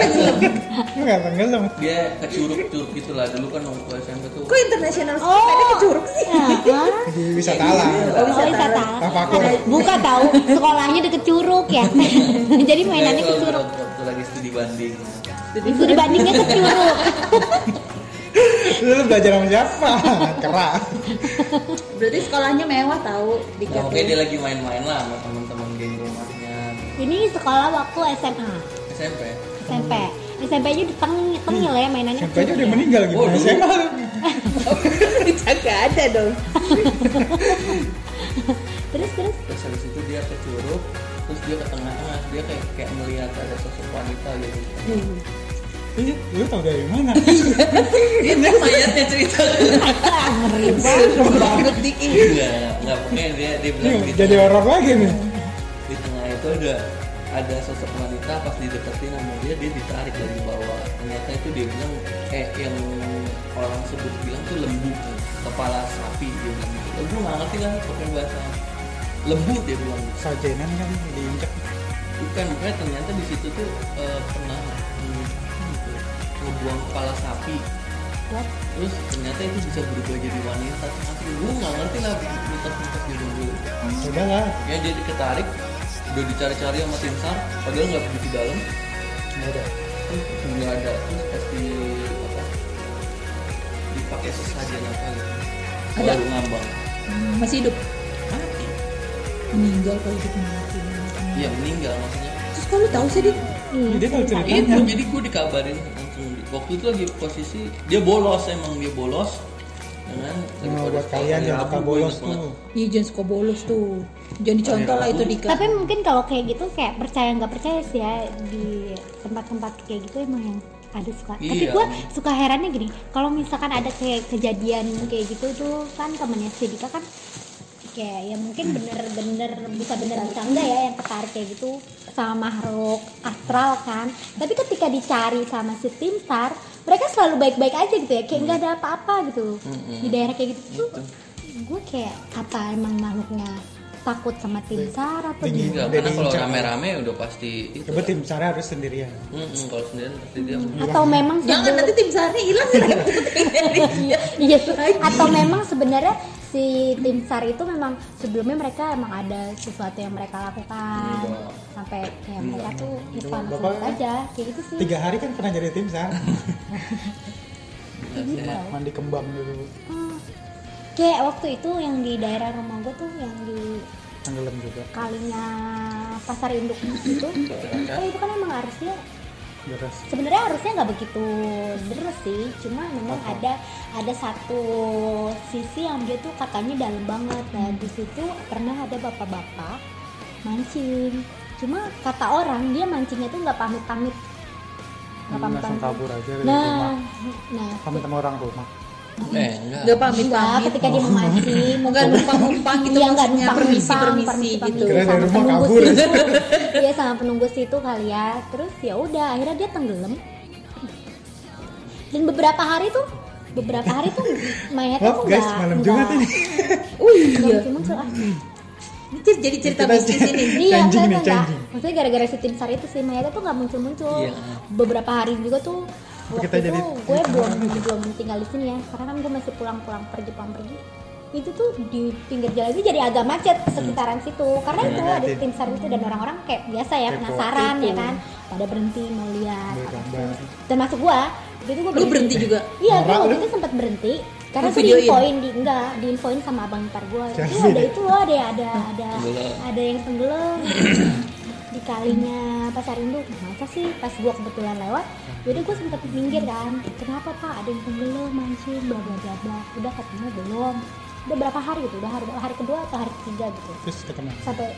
Speaker 1: nggak tenggelam
Speaker 4: Iya. dia ke curug-curug gitu lah. Dulu kan waktu SMP tuh.
Speaker 2: Kok internasional school
Speaker 3: Oh.
Speaker 2: ada ke curug sih?
Speaker 3: Heeh.
Speaker 1: di wisata alam
Speaker 3: Oh, wisata.
Speaker 1: Tafakur.
Speaker 3: Buka tahu sekolahnya deket curug ya. Jadi mainannya ke
Speaker 4: Waktu-
Speaker 3: curug.
Speaker 4: Waktu lagi studi banding.
Speaker 3: Itu dibandingnya ke curug.
Speaker 1: lu belajar sama siapa kera
Speaker 2: Berarti sekolahnya mewah tahu di
Speaker 4: Nah, makanya dia lagi main-main lah sama teman-teman geng rumahnya.
Speaker 3: Ini sekolah waktu SMA,
Speaker 4: SMP.
Speaker 3: SMP. SMP aja udah teng tengil ya mainannya. ke
Speaker 1: sampai aja
Speaker 3: curug
Speaker 1: udah
Speaker 3: ya.
Speaker 1: meninggal gitu
Speaker 4: Oh, dulu.
Speaker 1: SMA
Speaker 2: Kagak ada dong.
Speaker 3: terus terus
Speaker 4: terus habis itu dia ke curug terus dia ke tengah-tengah dia kayak kayak melihat ada sosok wanita gitu
Speaker 1: Iya, lu tau dari mana?
Speaker 4: itu mayatnya cerita
Speaker 3: ngeri
Speaker 4: banget dikit
Speaker 2: Iya.
Speaker 4: enggak enggak pokoknya dia dia bilang
Speaker 1: Ini
Speaker 4: gitu
Speaker 1: Iya, jadi horor lagi nih.
Speaker 4: di tengah itu ada ada sosok wanita pas dideketin sama dia dia ditarik dari bawah ternyata itu dia bilang eh yang orang sebut bilang tuh lembu kepala sapi dia bilang gitu. Eh, gua nggak ngerti kan pakai bahasa lembu dia bilang gitu.
Speaker 1: Sajenan kan diinjak.
Speaker 4: bukan makanya ternyata di situ tuh eh, pernah hmm, gitu, ngebuang kepala sapi
Speaker 3: What?
Speaker 4: terus ternyata itu bisa berubah jadi wanita tapi gue nggak ngerti lah mitos-mitos di dulu
Speaker 1: Sudahlah,
Speaker 4: ya dia diketarik udah dicari-cari sama tim sar padahal nggak begitu dalam
Speaker 1: nggak ada.
Speaker 4: terus nggak ada terus pasti apa dipakai sesajian apa gitu
Speaker 2: Ada.
Speaker 4: baru ngambang
Speaker 2: Hmm, masih hidup
Speaker 4: mati
Speaker 2: meninggal kalau hidup mati
Speaker 4: iya meninggal maksudnya
Speaker 2: terus kalau tahu sih Dit?
Speaker 3: Iya,
Speaker 1: Jadi dia tahu ceritanya.
Speaker 4: itu jadi gue dikabarin langsung di- waktu itu lagi posisi dia bolos emang dia bolos dengan lagi
Speaker 1: Nah,
Speaker 4: pada
Speaker 1: buat
Speaker 4: sekolah
Speaker 1: kalian
Speaker 4: hari
Speaker 1: yang
Speaker 4: Rabu,
Speaker 1: suka
Speaker 4: gua
Speaker 1: bolos
Speaker 4: inget banget.
Speaker 1: tuh.
Speaker 2: iya jangan suka bolos tuh jangan dicontoh lah itu di kelas
Speaker 3: tapi mungkin kalau kayak gitu kayak percaya nggak percaya sih ya di tempat-tempat kayak gitu emang yang ada suka tapi
Speaker 4: Iya.
Speaker 3: gue suka herannya gini kalau misalkan ada kayak kejadian kayak gitu tuh kan temennya si Dika kan kayak ya mungkin bener-bener bisa bener bisa enggak ya yang ketarik kayak gitu sama makhluk astral kan tapi ketika dicari sama si tim sar mereka selalu baik-baik aja gitu ya kayak nggak ada apa-apa gitu
Speaker 4: Mm-mm.
Speaker 3: di daerah kayak gitu
Speaker 4: Gitu.
Speaker 3: tuh gue kayak apa emang makhluknya takut sama tim sar atau
Speaker 1: Tinggi.
Speaker 3: gimana
Speaker 4: Enggak,
Speaker 1: Udah
Speaker 4: karena kalau
Speaker 1: diincar.
Speaker 4: rame-rame udah pasti itu.
Speaker 1: Coba tim Sarah harus sendirian.
Speaker 4: Mm-mm, kalau sendirian pasti dia
Speaker 3: atau memang
Speaker 2: jangan
Speaker 3: sebe-
Speaker 2: nanti tim sarnya hilang
Speaker 3: iya, iya. atau memang sebenarnya si tim sar itu memang sebelumnya mereka emang ada sesuatu yang mereka lakukan
Speaker 4: Enggak.
Speaker 3: sampai ya mereka tuh
Speaker 1: Enggak.
Speaker 3: Irfan
Speaker 1: Iya. Bapak- kan?
Speaker 3: aja kayak gitu sih
Speaker 1: Tiga hari kan pernah jadi tim Sarah.
Speaker 3: Kayak gitu.
Speaker 1: Mandi kembang dulu,
Speaker 3: Hmm. kayak waktu itu yang di daerah rumah gue tuh yang di
Speaker 1: tenggelam juga.
Speaker 3: kalinya pasar induk itu
Speaker 1: Iya.
Speaker 3: eh itu kan emang harusnya
Speaker 1: Beres.
Speaker 3: sebenarnya harusnya nggak begitu deres sih cuma memang ada ada satu sisi yang dia tuh katanya dalam banget nah di situ pernah ada bapak-bapak mancing cuma kata orang dia mancingnya tuh nggak pamit-pamit nggak
Speaker 1: Langsung Hmm, kabur aja dari
Speaker 3: nah
Speaker 1: rumah.
Speaker 3: nah
Speaker 1: Pamit sama orang rumah.
Speaker 4: eh enggak.
Speaker 2: nggak pamit
Speaker 3: enggak,
Speaker 2: pamit
Speaker 3: Iya, ketika
Speaker 1: Oh.
Speaker 3: dia memancing
Speaker 2: semoga numpang-numpang gitu
Speaker 3: Iya, nggak
Speaker 2: maksudnya
Speaker 3: numpang,
Speaker 2: permisi
Speaker 3: numpang,
Speaker 2: permisi gitu
Speaker 1: Kira dari
Speaker 3: sama
Speaker 1: rumah
Speaker 3: penunggu
Speaker 1: kabur.
Speaker 3: situ. Iya sama penunggu situ kali ya. Terus ya udah akhirnya dia tenggelam. Dan beberapa hari tuh beberapa hari tuh mayatnya
Speaker 1: Wah,
Speaker 3: tuh
Speaker 1: guys,
Speaker 3: nggak-
Speaker 1: malam
Speaker 3: nggak-
Speaker 1: Jumat ini.
Speaker 2: oh iya
Speaker 3: nggak muncul ah.
Speaker 2: ini Cis, jadi cerita
Speaker 1: Kita-
Speaker 2: bisnis ini
Speaker 3: Iya,
Speaker 1: Changing
Speaker 3: saya
Speaker 1: nih,
Speaker 3: tuh nggak-
Speaker 1: changing.
Speaker 3: Maksudnya gara-gara si tim sar itu sih mayatnya tuh nggak muncul-muncul.
Speaker 4: Iya.
Speaker 3: Beberapa hari juga tuh
Speaker 1: Tapi
Speaker 3: waktu
Speaker 1: kita
Speaker 3: itu
Speaker 1: jadi-
Speaker 3: gue
Speaker 1: jadi
Speaker 3: belum
Speaker 1: teman aja.
Speaker 3: belum tinggal di sini ya, karena kan gue masih pulang-pulang pergi pulang pergi. Itu tuh di pinggir jalan itu jadi agak macet sekitaran situ, karena
Speaker 1: Hmm. Iya,
Speaker 3: itu
Speaker 1: iya,
Speaker 3: ada
Speaker 1: iya.
Speaker 3: tim sar itu dan orang-orang kayak biasa ya
Speaker 1: Kepo. Iya,
Speaker 3: penasaran ya kan, pada berhenti mau lihat.
Speaker 1: Ambil
Speaker 3: apa.
Speaker 1: gambar.
Speaker 3: Termasuk gue, waktu itu gue
Speaker 2: lu berhenti juga
Speaker 3: Iya, gue
Speaker 1: Marah
Speaker 3: waktu
Speaker 1: lu.
Speaker 3: itu sempat berhenti karena
Speaker 2: Lu
Speaker 3: gue
Speaker 2: videoin?
Speaker 3: diinfoin di enggak diinfoin sama abang ipar gue itu
Speaker 1: Jangan.
Speaker 3: ada itu loh ada ada ada
Speaker 4: Tenggelam.
Speaker 3: ada yang tenggelam di kalinya pasar induk masa sih pas gue kebetulan lewat jadi gue sempat minggir kan kenapa pak ada yang tenggelam mancing bla bla bla bla udah katanya belum udah berapa hari gitu udah hari, hari kedua atau hari ketiga gitu
Speaker 1: Terus ketemu.
Speaker 3: sampai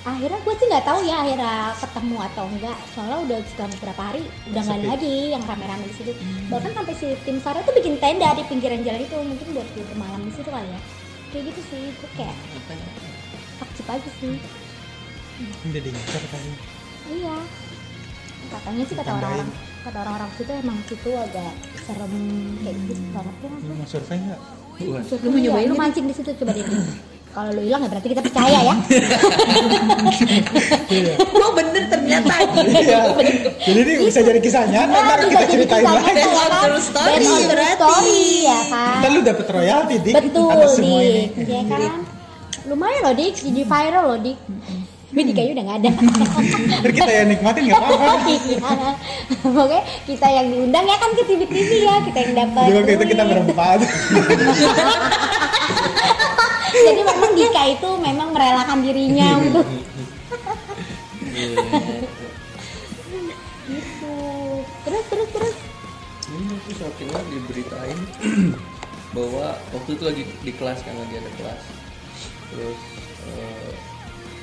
Speaker 3: akhirnya gue sih nggak tahu ya akhirnya ketemu atau enggak soalnya udah sudah beberapa hari udah nggak ada
Speaker 1: Sepi.
Speaker 3: lagi yang rame-rame di situ
Speaker 2: Hmm.
Speaker 3: bahkan sampai si tim sar tuh bikin tenda di pinggiran jalan itu mungkin buat tidur malam di situ kali ya kayak gitu sih gue kayak
Speaker 4: Makanya,
Speaker 3: takjub aja sih
Speaker 1: Udah diincar kali.
Speaker 3: iya katanya sih kata
Speaker 1: Ditambahin.
Speaker 3: orang-orang kata orang-orang situ emang situ agak serem kayak gitu banget ya Iya,
Speaker 1: Lu mau survei nggak?
Speaker 4: Wah,
Speaker 2: Lu mau nyobain
Speaker 3: lu
Speaker 2: gitu?
Speaker 3: mancing di situ coba deh kalau lu hilang ya berarti kita percaya ya
Speaker 1: Iya.
Speaker 2: oh bener ternyata
Speaker 1: Iya. Jadi ini bisa jadi kisah nyata ntar kita ceritain lagi.
Speaker 2: Based on true
Speaker 3: Based
Speaker 2: story,
Speaker 3: on true
Speaker 2: berarti.
Speaker 3: story, ya kan
Speaker 1: Ntar lu dapet royalti dik
Speaker 3: Betul
Speaker 1: atas semua
Speaker 3: Dik,
Speaker 1: ini.
Speaker 3: ya kan? Lumayan loh Dik, jadi viral loh Dik Tapi Dik kayaknya udah gak ada
Speaker 1: Ntar kita yang nikmatin nggak apa-apa.
Speaker 3: Iya. Oke, kita yang diundang ya kan ke TV-TV ya Kita yang dapat
Speaker 1: Jadi waktu itu kita
Speaker 3: duit.
Speaker 1: berempat.
Speaker 3: Jadi memang Dika itu memang merelakan dirinya untuk
Speaker 4: gitu.
Speaker 3: itu gitu. Terus, terus, terus
Speaker 4: Ini terus akhirnya diberitain bahwa waktu itu lagi di kelas kan lagi ada kelas. terus eh,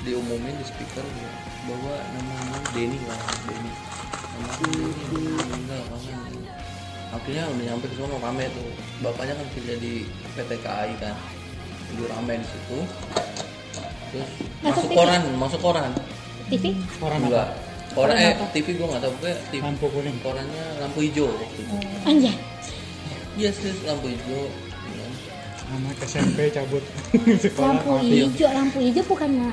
Speaker 4: diumumin di speaker ya, bahwa namanya Denny lah Denny nama aku Denny meninggal kamu akhirnya udah nyampe ke sono rame tuh bapaknya kan kerja di PT KAI kan di rame di situ terus
Speaker 3: Masuk
Speaker 4: masuk
Speaker 3: TV?
Speaker 4: koran masuk koran
Speaker 3: TV
Speaker 1: Koran apa?
Speaker 4: enggak koran eh TV gua nggak tahu pokoknya TV
Speaker 1: Lampu kuning.
Speaker 4: korannya lampu hijau waktu itu
Speaker 3: anjay
Speaker 4: iya serius lampu hijau ya.
Speaker 1: Anak SMP cabut sekolah
Speaker 3: lampu
Speaker 1: mati.
Speaker 3: hijau lampu hijau bukannya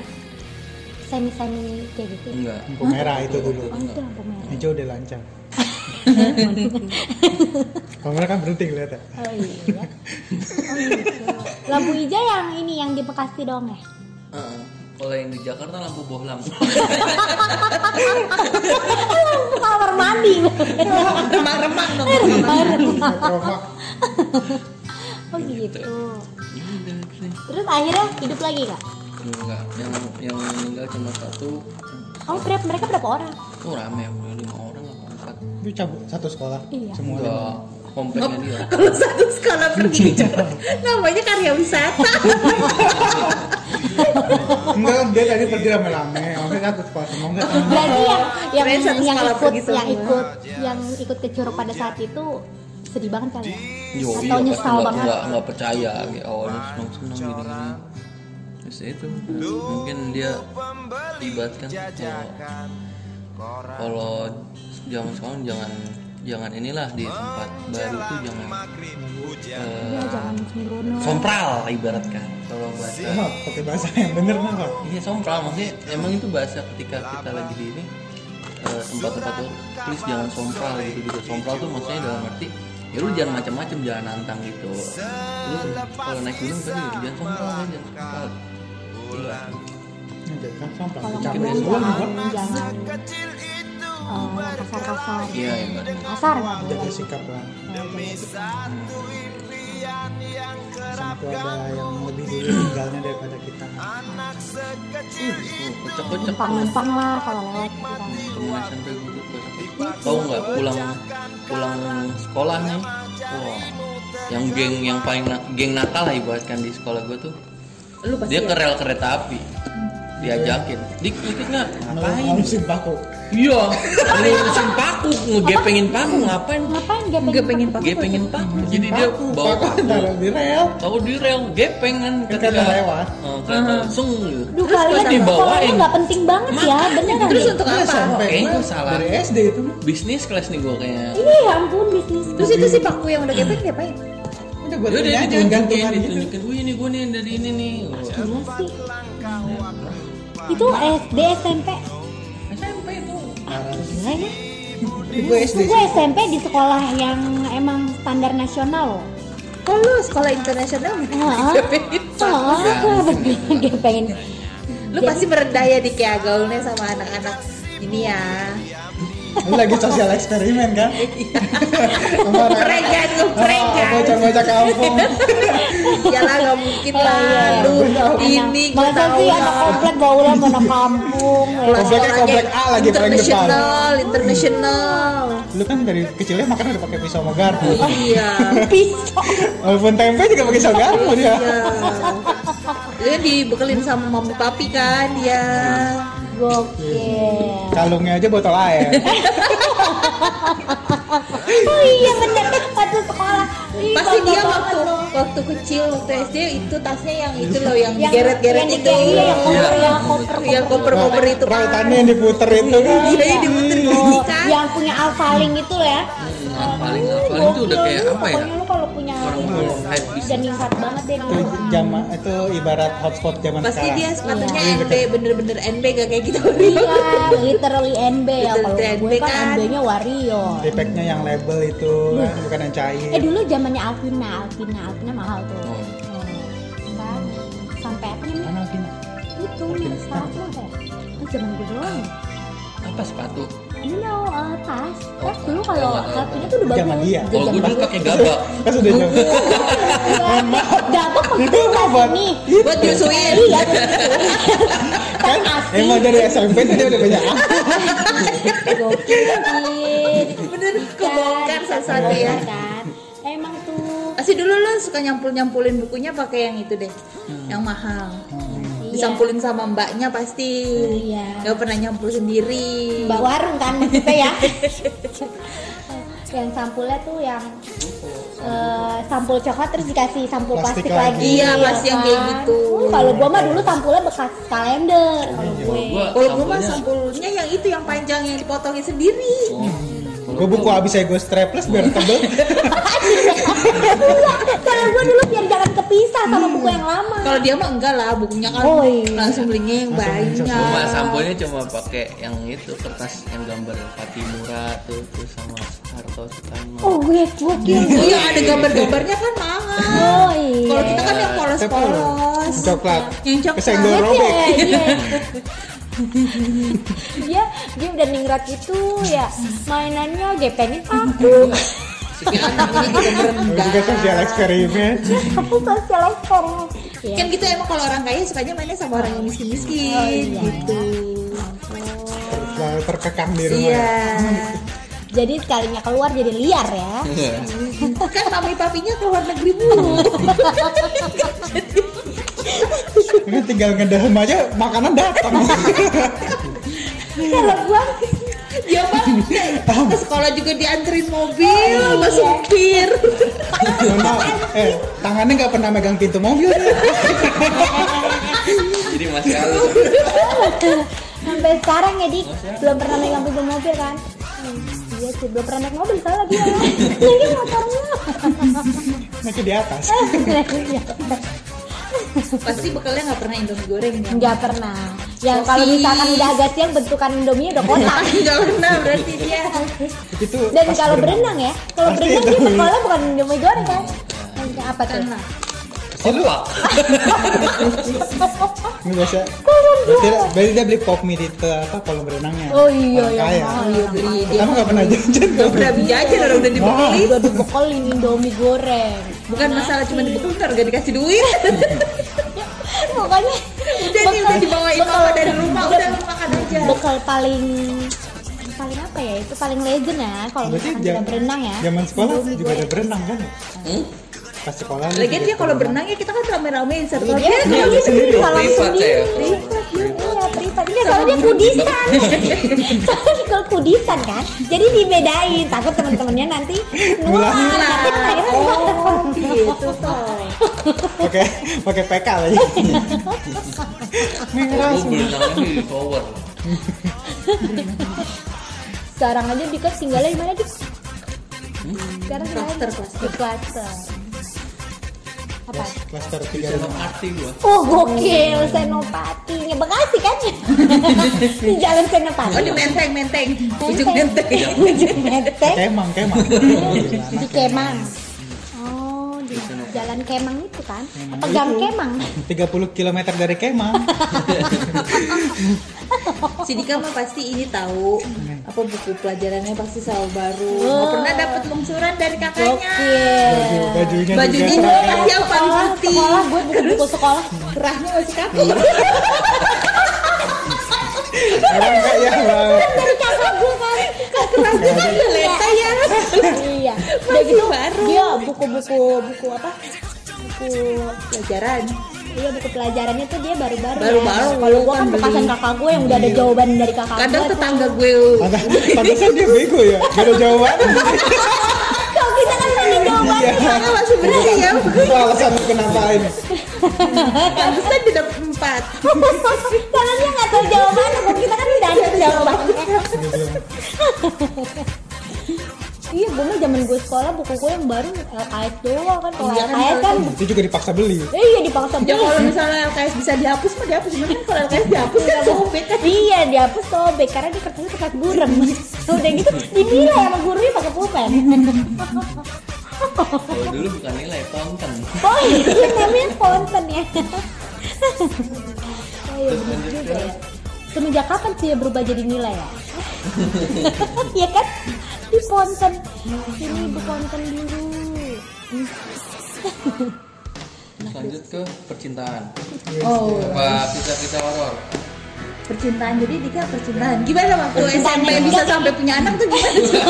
Speaker 3: semi semi kayak gitu
Speaker 4: enggak
Speaker 1: Lampu merah itu dulu.
Speaker 3: oh itu lampu merah
Speaker 1: Hijau udah lancar. Kalau merah kan berhenti kelihatan.
Speaker 3: oh iya Oh, gitu. lampu hijau yang ini yang di Bekasi dong ya
Speaker 4: Heeh. kalau yang di Jakarta lampu bohlam
Speaker 3: Lampu kamar mandi
Speaker 2: remang-remang dong
Speaker 1: Kromak.
Speaker 3: oh gitu terus akhirnya hidup lagi kak
Speaker 4: enggak yang yang meninggal cuma satu
Speaker 3: oh berapa mereka berapa orang
Speaker 4: tuh rame udah lima orang apa empat
Speaker 1: Itu cabut satu sekolah.
Speaker 3: Iya.
Speaker 1: Semua lima.
Speaker 4: enggak kompleknya dia
Speaker 2: kalau satu sekolah pergi namanya karya wisata
Speaker 1: Enggak kan dia tadi pergi rame-rame. Oke satu sekolah semua enggak sama.
Speaker 3: berarti yang
Speaker 2: Kirain
Speaker 3: yang
Speaker 2: satu
Speaker 3: yang
Speaker 2: skala
Speaker 3: ikut yang
Speaker 2: pergi semua.
Speaker 3: ikut yang ikut ke Curug pada saat itu sedih banget kali ya
Speaker 4: Yo,
Speaker 3: Atau
Speaker 4: iya,
Speaker 3: nyesal
Speaker 4: pasti
Speaker 3: banget.
Speaker 4: nggak nggak percaya kayak awalnya senang senang gini gini terus ya itu mungkin dia libatkan kalau kalau zaman sekarang jangan jangan inilah di tempat baru tuh jangan eh,
Speaker 3: ya jangan sembrono
Speaker 4: sompral ibaratkan kalau bahasa
Speaker 1: Nah, pakai bahasa yang bener kenapa?
Speaker 4: Iya sompral maksudnya emang itu bahasa ketika kita lagi di ini eh, tempat-tempat tuh please jangan sompral gitu gitu sompral tuh maksudnya dalam arti ya lu jangan macam-macam jangan nantang gitu lu kalau naik gunung tadi jangan sompral ya, jangan sompral Iya.
Speaker 1: Enggak kan sampah.
Speaker 3: kalau
Speaker 1: Cabut
Speaker 3: ngomong
Speaker 1: sekolah
Speaker 3: jangan
Speaker 1: enggak.
Speaker 3: jangan eh, kasar-kasar
Speaker 4: iya iya
Speaker 3: kasar nggak
Speaker 1: Jaga
Speaker 3: boleh
Speaker 1: sikap lah.
Speaker 3: Jangan kayak gitu.
Speaker 1: Sampai ada yang lebih dulu meninggalnya daripada kita.
Speaker 4: Iya, kocak kocak
Speaker 3: numpang-numpang lah kalau lewat gitu
Speaker 4: temen SMP gue tuh kocak tau nggak pulang pulang sekolah nih wah yang geng yang paling na- geng nakal lah ibaratkan di sekolah gue tuh
Speaker 2: lu pasti ya.
Speaker 4: dia ke rel kereta api diajakin dik dikit nggak ngapain
Speaker 1: Ngapain sih baku?
Speaker 4: iya ngurusin paku ngegepengin paku ngapain
Speaker 3: ngapain dia pengen
Speaker 2: nggak pengen pakai
Speaker 4: gepengin paku jadi dia
Speaker 1: Baku,
Speaker 4: bawa
Speaker 1: baku
Speaker 4: paku
Speaker 1: taruh di rel.
Speaker 4: tahu di rel gepeng kan
Speaker 1: Kan ada lewat.
Speaker 4: Oh, kereta sung gitu.
Speaker 3: Duh
Speaker 4: Terus
Speaker 3: kalian
Speaker 4: dia
Speaker 3: sekolahnya
Speaker 4: dibawain
Speaker 3: nggak penting banget ya beneran
Speaker 2: kan? terus
Speaker 3: deh.
Speaker 2: untuk
Speaker 1: Iya,
Speaker 2: apa
Speaker 1: sampai
Speaker 4: Kayaknya
Speaker 1: gua
Speaker 4: salah.
Speaker 1: Dari SD itu mah.
Speaker 4: bisnis kelas nih gue kayaknya
Speaker 3: iya ya ampun bisnis
Speaker 2: terus itu si paku yang udah gepeng diapain
Speaker 1: Udah buat
Speaker 4: Yaudah dia
Speaker 1: nyanyi
Speaker 4: ditunjukin,
Speaker 1: gantungan gitu.
Speaker 4: ditunjukin, wih ini gue nih yang dari ini nih
Speaker 3: Iya sih. itu SD SMP
Speaker 4: SMP itu
Speaker 1: Parah.
Speaker 3: gila ya
Speaker 1: Gue SD
Speaker 3: gue SMP di sekolah yang emang standar nasional loh
Speaker 2: oh lu sekolah internasional
Speaker 3: Heeh.
Speaker 2: Diapain?
Speaker 3: Soalnya bener dia pengen
Speaker 2: lu pasti merendah ya di kayak gaulnya sama anak-anak ini ya
Speaker 1: Lu lagi sosial eksperimen kan?
Speaker 4: Iya.
Speaker 1: Sama anak-
Speaker 2: Pregan,
Speaker 1: Ah,
Speaker 2: ngepregan.
Speaker 1: Bocah-bocah kampung.
Speaker 2: Iyalah nggak mungkin lah lu Oh, ini
Speaker 3: Anak-
Speaker 2: gak
Speaker 3: Iya, masa
Speaker 2: tahu
Speaker 3: sih
Speaker 2: lah.
Speaker 3: anak komplek gaulan mana kampung ya.
Speaker 2: Kelas
Speaker 1: Kompleknya
Speaker 2: sekolahnya
Speaker 1: komplek A lagi paling depan.
Speaker 2: International, international.
Speaker 1: Lu kan dari kecilnya makan udah pakai pisau sama
Speaker 3: Oh.
Speaker 1: garpu.
Speaker 2: Iya.
Speaker 3: pisau
Speaker 1: Walaupun tempe juga pakai pisau garpu dia.
Speaker 2: Iya. Dia dibekelin sama mami papi kan dia.
Speaker 3: gokil
Speaker 1: Kalungnya aja botol air.
Speaker 3: oh iya bener waktu sekolah Ih,
Speaker 2: Pasti
Speaker 3: bangga
Speaker 2: dia
Speaker 3: banget
Speaker 2: waktu
Speaker 3: loh.
Speaker 2: waktu kecil waktu SD itu tasnya yang itu loh yang
Speaker 3: yang
Speaker 2: digeret-geret
Speaker 3: yang
Speaker 2: itu.
Speaker 3: dikei- iya, yang koper
Speaker 4: Iya.
Speaker 3: ya koper
Speaker 2: Yang koper-koper itu kan.
Speaker 1: Rautannya yang diputer itu kan.
Speaker 2: Iya, yang diputer gini kan.
Speaker 3: yang punya alfaling itu ya
Speaker 4: Nah, paling paling itu udah kayak apa ya
Speaker 3: pokoknya lu kalau punya
Speaker 4: orang
Speaker 3: ini
Speaker 4: bawa hype gitu.
Speaker 3: dan
Speaker 4: bisnis
Speaker 3: ningkat banget deh
Speaker 1: Itu jama itu ibarat hotspot zaman
Speaker 2: Pasti
Speaker 1: sekarang.
Speaker 2: dia sepatunya
Speaker 1: Iya.
Speaker 2: NB bener-bener NB gak kayak gitu.
Speaker 3: iya literally NB ya kalau
Speaker 2: Literally
Speaker 3: gue
Speaker 2: NB
Speaker 3: kan
Speaker 2: kan.
Speaker 3: NB nya warrior
Speaker 1: Defeknya yang label itu
Speaker 2: Iya.
Speaker 1: kan, bukan yang cair.
Speaker 3: Eh dulu zamannya Alvina, Alvina, Alvina mahal tuh.
Speaker 4: Oh.
Speaker 3: Hmm. Kan sampai apa namanya?
Speaker 1: Mana Alvin?
Speaker 3: Itu
Speaker 1: Alvina.
Speaker 3: milik sepatu apa ya? Oh, zaman gue doang.
Speaker 4: Oh, apa sepatu
Speaker 3: Ini no, eh, tas.
Speaker 4: Oh,
Speaker 3: Tas dulu kalau
Speaker 4: oh, oh,
Speaker 3: Alvina tuh udah bagus.
Speaker 1: Zaman dia.
Speaker 4: kalau gue dulu
Speaker 3: bagus.
Speaker 4: pakai gabak
Speaker 1: Kan sudah jam.
Speaker 3: Mohon maaf. Gabak pakai
Speaker 1: Itu
Speaker 3: tas
Speaker 1: obat.
Speaker 3: ini.
Speaker 2: Buat nyusuin.
Speaker 3: Iya, tas asli.
Speaker 1: kan? Emang dari SMP itu dia udah banyak.
Speaker 3: gitu. Gokil.
Speaker 2: Bener kebongkar salah satu ya.
Speaker 3: Kan. Iya, Emang tuh Hmm.
Speaker 2: Pasti dulu lo suka nyampul-nyampulin bukunya pakai yang itu deh. Yang mahal. disampulin sama mbaknya pasti
Speaker 3: Iya.
Speaker 2: nggak pernah nyampul sendiri
Speaker 3: Mbak warung kan kita ya. yang sampulnya tuh yang eh, sampul coklat terus dikasih sampul plastik,
Speaker 1: Plastik
Speaker 3: lagi.
Speaker 1: lagi.
Speaker 2: Iya, pasti yang kayak
Speaker 3: kan?
Speaker 2: gitu.
Speaker 3: Uh, kalau gua mah dulu sampulnya bekas kalender kalau
Speaker 1: Iya,
Speaker 3: gue.
Speaker 4: gua
Speaker 2: kalau gue mah
Speaker 4: sampulnya-
Speaker 2: sampulnya yang itu yang panjang yang dipotongin sendiri
Speaker 4: Oh.
Speaker 1: Gue buku abis ya gue strapless biar tebel.
Speaker 3: kalau gua dulu biar jangan kepisah sama buku yang lama.
Speaker 2: kalau dia mah enggak lah bukunya kan
Speaker 3: Oh, iya.
Speaker 2: langsung belinya yang
Speaker 1: Langsung
Speaker 2: banyak
Speaker 4: Cuma sampulnya cuma pakai yang itu kertas yang gambar Fatimura tuh tuh sama Harto Sukarno.
Speaker 3: Oh gue gokil.
Speaker 2: Oh yang ada gambar-gambarnya kan mahal
Speaker 3: Oh iya.
Speaker 2: kalau kita kan yang polos-polos
Speaker 1: Coklat.
Speaker 2: yang coklat ya,
Speaker 1: Kesenggol
Speaker 3: Iya,
Speaker 1: robek.
Speaker 3: iya. dia dia udah ningrat itu ya mainannya gepengin aku
Speaker 2: yang anak ini juga
Speaker 1: Gue juga sosial eksperimen.
Speaker 3: aku sosial eksperimen ya.
Speaker 2: kan gitu emang kalau orang kaya sukanya mainnya sama orang yang miskin-miskin
Speaker 3: Oh, iya.
Speaker 2: gitu
Speaker 1: Selalu terkekang di rumah. ya.
Speaker 2: iya
Speaker 3: jadi sekalinya keluar jadi liar ya
Speaker 2: kan mami papinya keluar negeri mulu
Speaker 1: Ini tinggal ngedehem aja makanan datang.
Speaker 3: kalau gua
Speaker 2: dia mah Ya, ke sekolah juga dianterin mobil sama supir
Speaker 1: Nona, eh tangannya nggak pernah megang pintu mobil. deh.
Speaker 4: Jadi masih halus.
Speaker 3: sampai sekarang ya dik belum pernah naik mobil mobil kan Hmm, Iya sih, belum pernah naik mobil salah dia Ini motornya
Speaker 1: Masih di atas.
Speaker 2: pasti bekalnya nggak pernah indomie goreng ya
Speaker 3: Enggak pernah Yang kalau misalkan udah agak siang bentukan Indomie udah kotak
Speaker 2: Ah, nggak pernah berarti dia
Speaker 1: Itu
Speaker 3: Dan
Speaker 1: pas
Speaker 3: kalau berenang ya, kalau
Speaker 1: Pasti
Speaker 3: berenang dia
Speaker 1: itu.
Speaker 3: sekolah bukan Indomie goreng kan? Yang Apa tuh?
Speaker 1: Pasti lu- Ini biasa.
Speaker 3: Kolam
Speaker 1: Berarti, berarti dia beli pop mie di te- apa kolam berenangnya.
Speaker 3: Oh iya
Speaker 1: Orang
Speaker 3: ya.
Speaker 1: kaya.
Speaker 2: dia beli dia
Speaker 1: Kamu nggak pernah jajan
Speaker 2: nggak pernah jajan orang udah dibekali
Speaker 3: Udah dibekelin Indomie goreng. Nah,
Speaker 2: bukan masalah cuma dibekali ntar nggak dikasih duit
Speaker 3: Pokoknya
Speaker 2: udah nih udah dibawain mama dari rumah udah lu makan aja
Speaker 3: bekal paling paling apa ya? Itu paling legend ya kalau
Speaker 1: Berarti
Speaker 3: misalkan
Speaker 1: jam,
Speaker 3: kita berenang ya. iya.
Speaker 1: Zaman sekolah
Speaker 3: Indomie
Speaker 1: juga ada
Speaker 3: goreng.
Speaker 1: berenang kan? ya? Pas sekolah. lu juga
Speaker 2: Lagian dia kalau
Speaker 1: berenang.
Speaker 2: berenang ya kita kan rame-ramein satu
Speaker 3: Iya,
Speaker 2: dia
Speaker 3: dia
Speaker 1: dia sendiri.
Speaker 3: kolam
Speaker 4: Privat
Speaker 3: sendiri.
Speaker 4: ya.
Speaker 3: Privat, Iya, privat. Ini soalnya dia kudisan. Soalnya kalau kudisan kan, jadi dibedain. Takut teman-temannya nanti ya, nular.
Speaker 1: Nular.
Speaker 3: Akhirnya
Speaker 2: Oh, gitu toh.
Speaker 1: Oke, pakai PK lagi. Merah
Speaker 4: Gua
Speaker 1: semua.
Speaker 4: berenangnya di tower.
Speaker 3: Sekarang aja Dika tinggalnya di mana Dik? Sekarang
Speaker 2: Cluster,
Speaker 3: tinggalnya di cluster. Apa?
Speaker 1: Klaster tiga
Speaker 4: Sama
Speaker 1: rumah.
Speaker 4: arti gua.
Speaker 3: Oh gokil, senopatinya Bekasi kan? di jalan senopati.
Speaker 2: Oh, di menteng, menteng. Ujung
Speaker 3: Menteng.
Speaker 2: menteng.
Speaker 3: Ujung menteng.
Speaker 1: Kemang, kemang.
Speaker 3: di Kemang. Oh, di jalan Kemang itu kan?
Speaker 1: Kemang
Speaker 3: Apa gang
Speaker 1: itu.
Speaker 3: Kemang?
Speaker 1: 30 km dari kemang.
Speaker 2: Si Dika mah pasti ini tahu apa buku pelajarannya pasti selalu baru. Nggak pernah dapat lungsuran dari kakaknya.
Speaker 1: Baju,
Speaker 3: Gokil.
Speaker 1: bajunya juga
Speaker 2: Bajunya juga
Speaker 1: seragam.
Speaker 2: pasti yang paling
Speaker 3: Sekolah,
Speaker 2: putih.
Speaker 3: Sekolah, gue buku-buku sekolah.
Speaker 2: Kerahnya masih kaku.
Speaker 1: Orang kaya banget.
Speaker 3: Dari kakak gue kan.
Speaker 2: Kerahnya kan leleta ya.
Speaker 3: iya. Udah
Speaker 2: Masih
Speaker 3: gitu
Speaker 2: baru.
Speaker 3: dia buku-buku buku apa? Buku
Speaker 2: Pelajaran.
Speaker 3: iya buku pelajarannya tuh dia baru-baru. ya.
Speaker 2: Baru-baru,
Speaker 3: Kalau gue
Speaker 2: kan
Speaker 3: kan
Speaker 2: beli. Iya.
Speaker 3: bekasan kakak gue yang udah ada jawaban dari kakak gue.
Speaker 2: Kadang
Speaker 3: tuh.
Speaker 2: tetangga gue.
Speaker 1: Pantas- Pantasan dia bego ya. Gak ada jawaban.
Speaker 3: Kalau kita kan ada jawaban.
Speaker 1: Iya.
Speaker 2: Tetangga masih bersih ya.
Speaker 1: Itu alasan kenapa ini.
Speaker 2: Pantesan di dapat empat.
Speaker 3: Soalnya nggak tahu jawabannya, kalau kita kan tidak ada jawabannya.
Speaker 1: Dia bilang,
Speaker 3: Iya, gue mah zaman gue sekolah buku gue yang baru LKS doang kan kalau
Speaker 2: Iya kan,
Speaker 3: LKS kan
Speaker 1: Itu juga dipaksa beli.
Speaker 3: eh, iya dipaksa
Speaker 2: Ya kalau
Speaker 3: beli.
Speaker 2: misalnya LKS bisa dihapus mah dihapus. Cuman kan kalau LKS dihapus kan sobek kan.
Speaker 3: Iya, dihapus sobek karena di kertasnya kertas burem. Udah gitu dinilai sama gurunya pakai pulpen.
Speaker 4: Kalau dulu bukan nilai konten.
Speaker 3: Oh iya, namanya konten ya. Oh iya, bener juga ya. Semenjak kapan sih ya berubah jadi nilai ya? Iya kan? Di ponten. Ini di ponten dulu.
Speaker 4: Terus lanjut ke percintaan.
Speaker 2: Oh.
Speaker 4: Apa kisah-kisah horor?
Speaker 2: percintaan jadi Dika percintaan gimana waktu
Speaker 3: Percintaan
Speaker 2: SMP
Speaker 3: yang
Speaker 2: bisa
Speaker 3: enggak.
Speaker 2: sampai punya anak tuh gimana sih?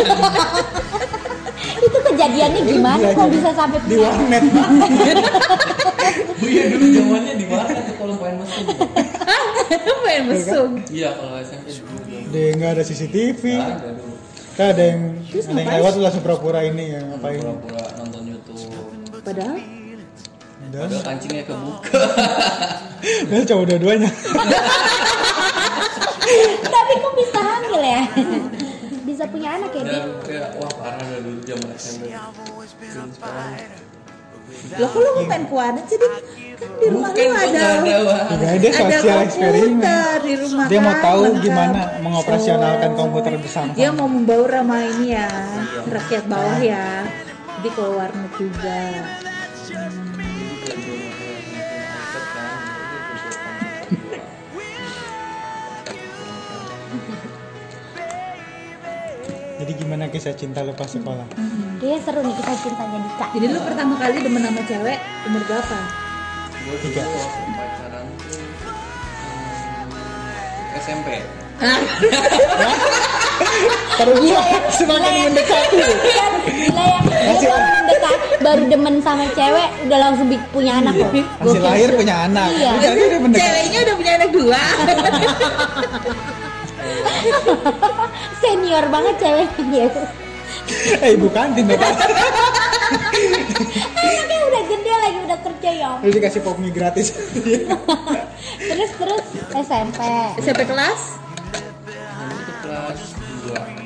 Speaker 3: Itu kejadiannya gimana kok bisa sampai
Speaker 1: Di warnet.
Speaker 4: Oh iya dulu zamannya di mana tuh kalau main mesin?
Speaker 2: main mesum
Speaker 4: Iya kalau SMP dulu belum.
Speaker 1: Dia nggak ada CCTV.
Speaker 4: Nggak ada dulu.
Speaker 1: Kan ada yang ada yang lewat langsung pura-pura ini ya ngapain?
Speaker 4: Pura-pura nonton YouTube.
Speaker 2: padahal
Speaker 1: Dan
Speaker 4: Padahal kancingnya kebuka.
Speaker 1: dan coba dua-duanya.
Speaker 3: Tapi kok bisa hamil ya? bisa punya anak ya dia?
Speaker 4: Dan kayak wah parah dah dulu zaman SMP. Terus sekarang,
Speaker 2: Loh kok lu ngapain ke warnet sih Dik? Kan di rumah
Speaker 4: Bukan
Speaker 2: lu
Speaker 4: kok
Speaker 2: ada
Speaker 4: nggak ada wah.
Speaker 1: Tidak ada Ya, sosial eksperimen.
Speaker 2: komputer di rumah
Speaker 1: Dia mau
Speaker 2: kan,
Speaker 1: tahu
Speaker 2: lengkap.
Speaker 1: gimana mengoperasionalkan komputer bersama.
Speaker 2: Dia mau membawa ramah ini ya Rakyat bawah ya Jadi ke warnet juga
Speaker 4: Jadi kayak belum ada yang nonton iPad kan. Jadi itu buat kancing kebuka.
Speaker 1: Jadi gimana kisah cinta lepas sekolah?
Speaker 3: Dia seru nih kita cintanya Dika.
Speaker 2: Jadi lu pertama kali demen sama cewek umur berapa?
Speaker 4: Gue dulu waktu pacaran tuh hmm, SMP.
Speaker 1: Terulang semakin mendekati.
Speaker 3: Kan, Gila ya, dia
Speaker 1: Masih-
Speaker 3: baru mendekat, baru demen sama cewek, udah langsung bi- punya anak loh.
Speaker 1: Masih lahir punya anak.
Speaker 3: Iya.
Speaker 1: Jadi udah mendekati.
Speaker 2: Ceweknya udah punya anak dua
Speaker 3: Senior banget ceweknya dia.
Speaker 1: Eh ibu kantin bapak.
Speaker 3: Anaknya udah gede lagi, udah kerja ya.
Speaker 1: Terus dikasih pop mie gratis.
Speaker 3: Terus terus SMP.
Speaker 2: SMP kelas?
Speaker 4: Yang itu kelas 2.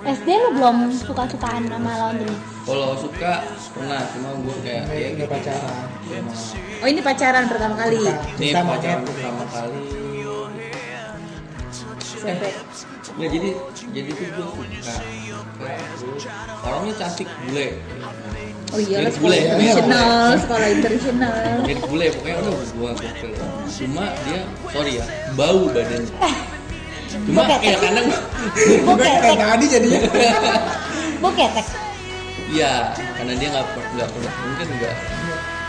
Speaker 3: SD lu belum suka-sukaan sama lawan jenis.
Speaker 4: Kalau suka pernah, cuma gue kayak ya
Speaker 1: Nggak
Speaker 4: gitu.
Speaker 1: pacaran.
Speaker 4: Emang
Speaker 2: Oh ini pacaran pertama kali
Speaker 4: ini
Speaker 1: Cinta monyet.
Speaker 4: pacaran pertama kali.
Speaker 2: SMP
Speaker 4: Nggak jadi jadi tuh gue suka. Kayak dulu, Orangnya cantik bule.
Speaker 2: Oh iya
Speaker 4: Jadi
Speaker 2: sekolah
Speaker 4: bule.
Speaker 2: internasional Sekolah internasional
Speaker 4: Jadi bule pokoknya udah gue gokil. Cuma dia sorry ya bau badannya. Cuma
Speaker 3: Oke.
Speaker 4: ya kadang
Speaker 1: Bukan
Speaker 3: Boketek,
Speaker 1: kayak tadi jadinya.
Speaker 3: boketek.
Speaker 4: Iya, karena dia nggak per- nggak pernah mungkin nggak.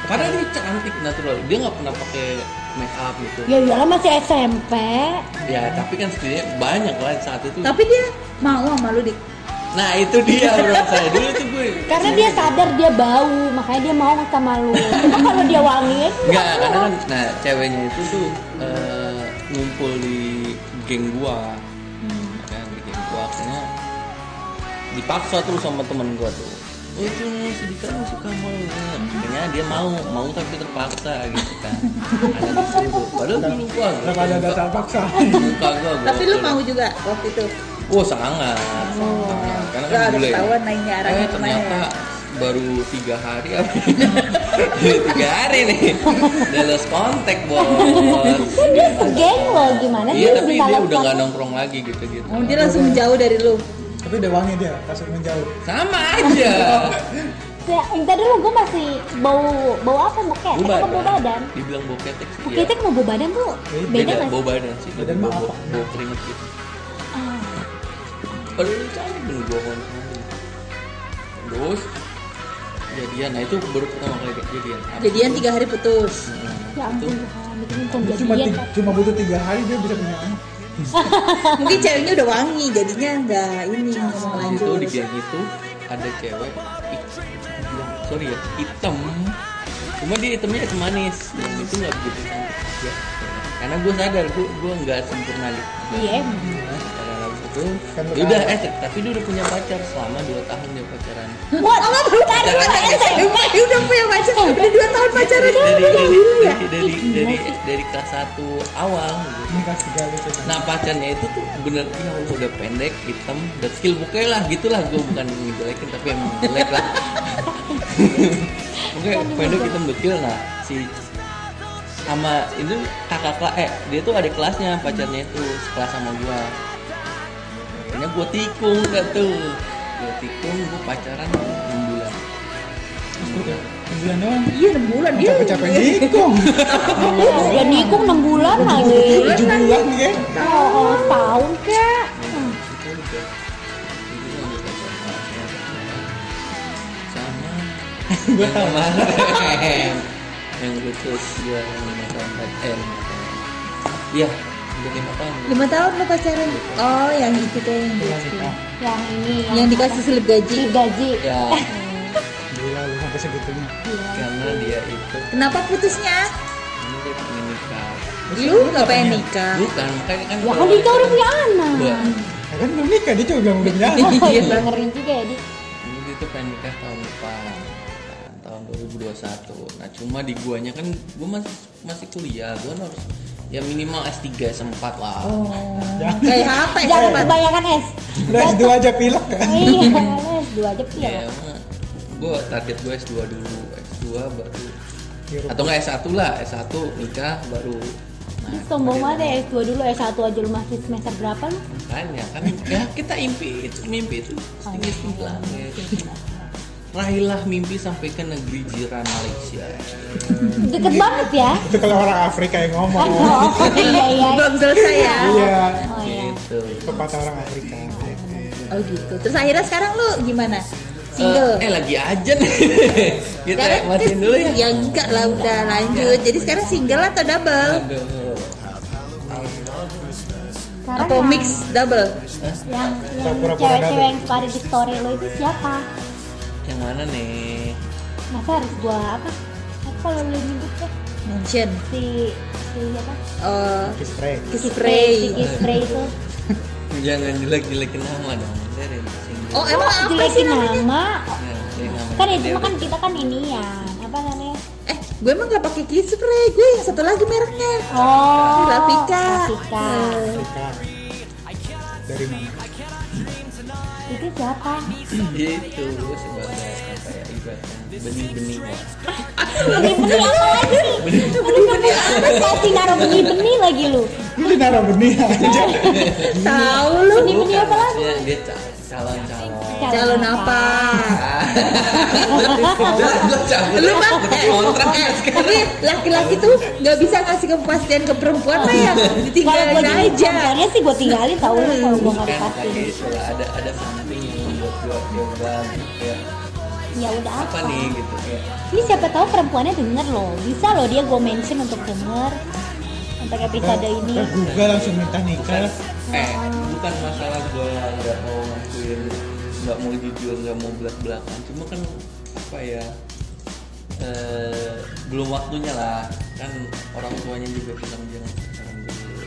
Speaker 4: Karena dia cantik natural, dia nggak pernah pakai make up gitu.
Speaker 3: Ya iyalah masih SMP.
Speaker 4: Ya tapi kan setidaknya banyak lah saat itu.
Speaker 2: Tapi dia mau sama lu Dik
Speaker 4: Nah itu dia bro saya dulu tuh gue.
Speaker 3: Karena dia sadar dia bau, makanya dia mau sama lu. Cuma kalau dia wangi ya
Speaker 4: Nggak, karena kan, nah ceweknya itu tuh eh, ngumpul di geng gua,
Speaker 2: Hmm.
Speaker 4: Ya kan di geng gua akhirnya dipaksa tuh sama temen gua tuh. Oh itu sedikit aku suka sama lu Akhirnya dia mau, mau tapi terpaksa gitu kan Ada disebut, padahal dulu gua
Speaker 1: Tetap ada dasar paksa.
Speaker 4: Muka gua gua
Speaker 2: Tapi lu Oh. mau juga waktu itu
Speaker 4: Oh sangat, sangat. Karena
Speaker 2: Lu
Speaker 4: kan
Speaker 2: harus
Speaker 4: bule
Speaker 2: tahu nanya arahnya
Speaker 4: Eh
Speaker 2: kemana
Speaker 4: ternyata
Speaker 2: ya
Speaker 4: baru tiga hari apa Baru tiga hari nih Udah lost kontak bos
Speaker 3: kan dia segeng loh gimana
Speaker 4: Iya
Speaker 3: sih
Speaker 4: tapi
Speaker 3: bisa
Speaker 4: dia
Speaker 3: lakukan?
Speaker 4: udah gak nongkrong lagi gitu-gitu
Speaker 2: Oh dia langsung menjauh dari lu
Speaker 1: Tapi udah wangi dia pas menjauh.
Speaker 4: Sama aja
Speaker 3: Ya, entar dulu gue masih bau bau apa buket?
Speaker 4: Bau
Speaker 3: Apa bau badan?
Speaker 4: Dibilang bau ketek sih iya.
Speaker 3: Buketek mau bau badan tuh beda nggak
Speaker 4: bau
Speaker 3: sih?
Speaker 4: badan sih
Speaker 1: Badan mah
Speaker 4: lebih bau,
Speaker 1: apa?
Speaker 4: bau keringet gitu
Speaker 3: Ah,
Speaker 4: Padahal lu cantik bener gua ngomong Terus Jadian, nah itu baru pertama kali jadian
Speaker 2: Jadian tiga hari putus
Speaker 4: Hmm.
Speaker 3: ya ampun Tuhan, bikin pun
Speaker 1: Cuma
Speaker 4: Iya,
Speaker 3: jadian.
Speaker 1: ti- cuma butuh tiga hari dia bisa punya anak.
Speaker 2: Mungkin ceweknya udah wangi Jadinya nggak ini nggak mau
Speaker 4: Di situ
Speaker 2: lanjut
Speaker 4: di gang itu ada cewek ih, bilang, sorry ya hitam cuma dia hitamnya hitam manis yang itu nggak begitu cantik ya karena gue sadar gue gue nggak sempurna di
Speaker 3: Iya, emang.
Speaker 4: karena habis itu
Speaker 1: Kan lu
Speaker 4: dia udah
Speaker 1: tahu.
Speaker 4: eh tapi dia udah punya pacar selama 2 tahun dia pacaran
Speaker 3: What? Tadi
Speaker 4: Jangan
Speaker 3: kata SMP.
Speaker 2: Emang dia udah punya pacar Udah dua tahun pacaran
Speaker 4: dari dari
Speaker 2: Gila
Speaker 1: Iya.
Speaker 2: ya
Speaker 4: dari dari, dari, dari kelas 1 awal gitu.
Speaker 1: Ini kan kasih kali kita.
Speaker 4: Nah pacarnya itu tuh bener ya Allah udah pendek, hitam, udah skill bokeh lah gitulah gue bukan ngejelekin tapi emang jelek lah. Oke pendek hitam dekil nah si sama itu kakak kelas eh dia tuh ada kelasnya pacarnya itu sekelas sama gua. Akhirnya gua tikung dah tuh, gua tikung gua pacaran 6 bulan.
Speaker 1: Bulan doang.
Speaker 2: Iya enam bulan dia
Speaker 1: Capek-capek nikung.
Speaker 3: Ya nikung 6 bulan lagi.
Speaker 1: Tujuh bulan ya.
Speaker 3: Oh, oh, tahun kek.
Speaker 4: Itu udah itu udah pacaran sama
Speaker 1: Gue tau.
Speaker 4: kemarin yang putus dia yang lima tahun tadi eh lima tahun iya udah lima tahun
Speaker 2: Lima tahun lo pacaran Oh yang itu tuh yang dia
Speaker 3: Yang ini
Speaker 2: Yang dikasih slip gaji
Speaker 3: slip gaji.
Speaker 4: ya
Speaker 1: Gila lu sampai segitunya.
Speaker 4: karena dia itu
Speaker 2: Kenapa putusnya?
Speaker 4: ini dia pengen nikah
Speaker 2: Lu nggak pengen nikah?
Speaker 4: Bukan, makanya kan.
Speaker 3: Ya kan Dika udah punya anak.
Speaker 4: Iya.
Speaker 1: Ya kan belum nikah dia cuma bilang belum nikah.
Speaker 3: Oh, iya, ngeri juga ya, Di.
Speaker 4: Dulu itu pengen nikah tahun depan kan, tahun 2021 nah cuma di guanya kan gua masih masih kuliah gua harus ya minimal S3 S4 lah
Speaker 3: Oh,
Speaker 2: Kayak apa ya?
Speaker 3: Jangan
Speaker 2: Sobat?
Speaker 3: kebanyakan es.
Speaker 1: Udah
Speaker 4: Nah.
Speaker 1: S2 aja pilek kan.
Speaker 3: Iya, es dua aja pil.
Speaker 4: ya emang gua target gua S2 dulu S2 baru
Speaker 1: Hirup.
Speaker 4: atau enggak S1 lah S1 nikah baru Nah,
Speaker 3: Ih, sombong banget ya S2 dulu S1 aja lu masih semester berapa lu?
Speaker 4: makanya kan ya kita impi itu mimpi itu tinggi tinggi langit raihlah mimpi sampai ke negeri jiran Malaysia
Speaker 3: Deket banget ya.
Speaker 1: Itu kalau orang Afrika yang ngomong.
Speaker 3: Oh, iya iya.
Speaker 2: Belum selesai ya.
Speaker 1: Iya,
Speaker 3: Oh iya.
Speaker 4: gitu
Speaker 1: pepatah orang Afrika.
Speaker 2: Oh gitu. Terus akhirnya sekarang lu gimana?
Speaker 4: Eh,
Speaker 2: Single.
Speaker 4: eh lagi aja nih. Kita
Speaker 2: Sekarang-
Speaker 4: matiin dulu ya.
Speaker 2: Ya enggak lah udah lanjut. Jadi sekarang single atau double?
Speaker 4: Aduh.
Speaker 3: Sekarang ya.
Speaker 2: Atau
Speaker 3: yang-
Speaker 2: mix double?
Speaker 3: yang yang
Speaker 1: Pura-pura
Speaker 3: cewek-cewek
Speaker 1: double.
Speaker 3: yang story di story lo itu siapa?
Speaker 4: Yang mana nih?
Speaker 3: Masa harus gua apa? Apa lo lu nyebut ya?
Speaker 2: Mention.
Speaker 3: Si si apa?
Speaker 2: Oh,
Speaker 1: Kiss Ray.
Speaker 2: kiss
Speaker 3: Si
Speaker 2: spray.
Speaker 3: Kiss Spray itu.
Speaker 4: Jangan jelek-jelekin nama dong. Dari single.
Speaker 2: Oh emang
Speaker 3: Oh,
Speaker 2: apa sih
Speaker 3: jelekin
Speaker 2: namanya?
Speaker 3: nama.
Speaker 4: Ya, dari nama.
Speaker 3: Kan itu
Speaker 4: Dari-
Speaker 3: mah kan kita kan ini ya. Apa namanya?
Speaker 2: Eh, gue emang gak pakai kiss spray. Gue yang satu lagi mereknya.
Speaker 3: Oh,
Speaker 2: Rafika.
Speaker 3: Rafika.
Speaker 2: Eh,
Speaker 1: Afrika. Dari mana?
Speaker 3: Itu siapa?
Speaker 4: Itu Gitu, sebagai apa ya ibaratnya benih-benih lah.
Speaker 3: Benih-benih apa lagi? Benih-benih apa sih? Asli naruh benih-benih lagi lu.
Speaker 1: Lu di benih aja.
Speaker 2: Tahu lu
Speaker 3: Benih-benih apa lagi?
Speaker 4: Ya, dia ca- calon-calon.
Speaker 2: calon apa?
Speaker 4: Udah, gua cabut.
Speaker 2: Lu mah
Speaker 4: Udah kan kontrak
Speaker 2: eh,
Speaker 4: kan sekarang.
Speaker 2: tapi laki-laki tuh nggak bisa ngasih kepastian ke perempuan lah ya.
Speaker 3: Kalau gue
Speaker 2: Ditinggalin
Speaker 3: jadi
Speaker 2: aja.
Speaker 3: perempuannya sih gue tinggalin tau lu kalau gue gak
Speaker 4: Kan
Speaker 3: dikasih
Speaker 4: kayak gitu lah, ada ada something yang membuat gua coba ya
Speaker 3: Ya udah
Speaker 4: apa nih gitu kayak
Speaker 3: Ini siapa tahu perempuannya denger loh Bisa loh dia gue mention untuk denger Untuk episode ini
Speaker 2: Eh.
Speaker 1: Ke Google langsung minta
Speaker 4: bukan
Speaker 1: nikah.
Speaker 4: eh bukan masalah gue nggak mau ngakuin nggak mau jujur nggak mau belak belakan cuma kan apa ya eh, belum waktunya lah kan orang tuanya juga bilang jangan pacaran dulu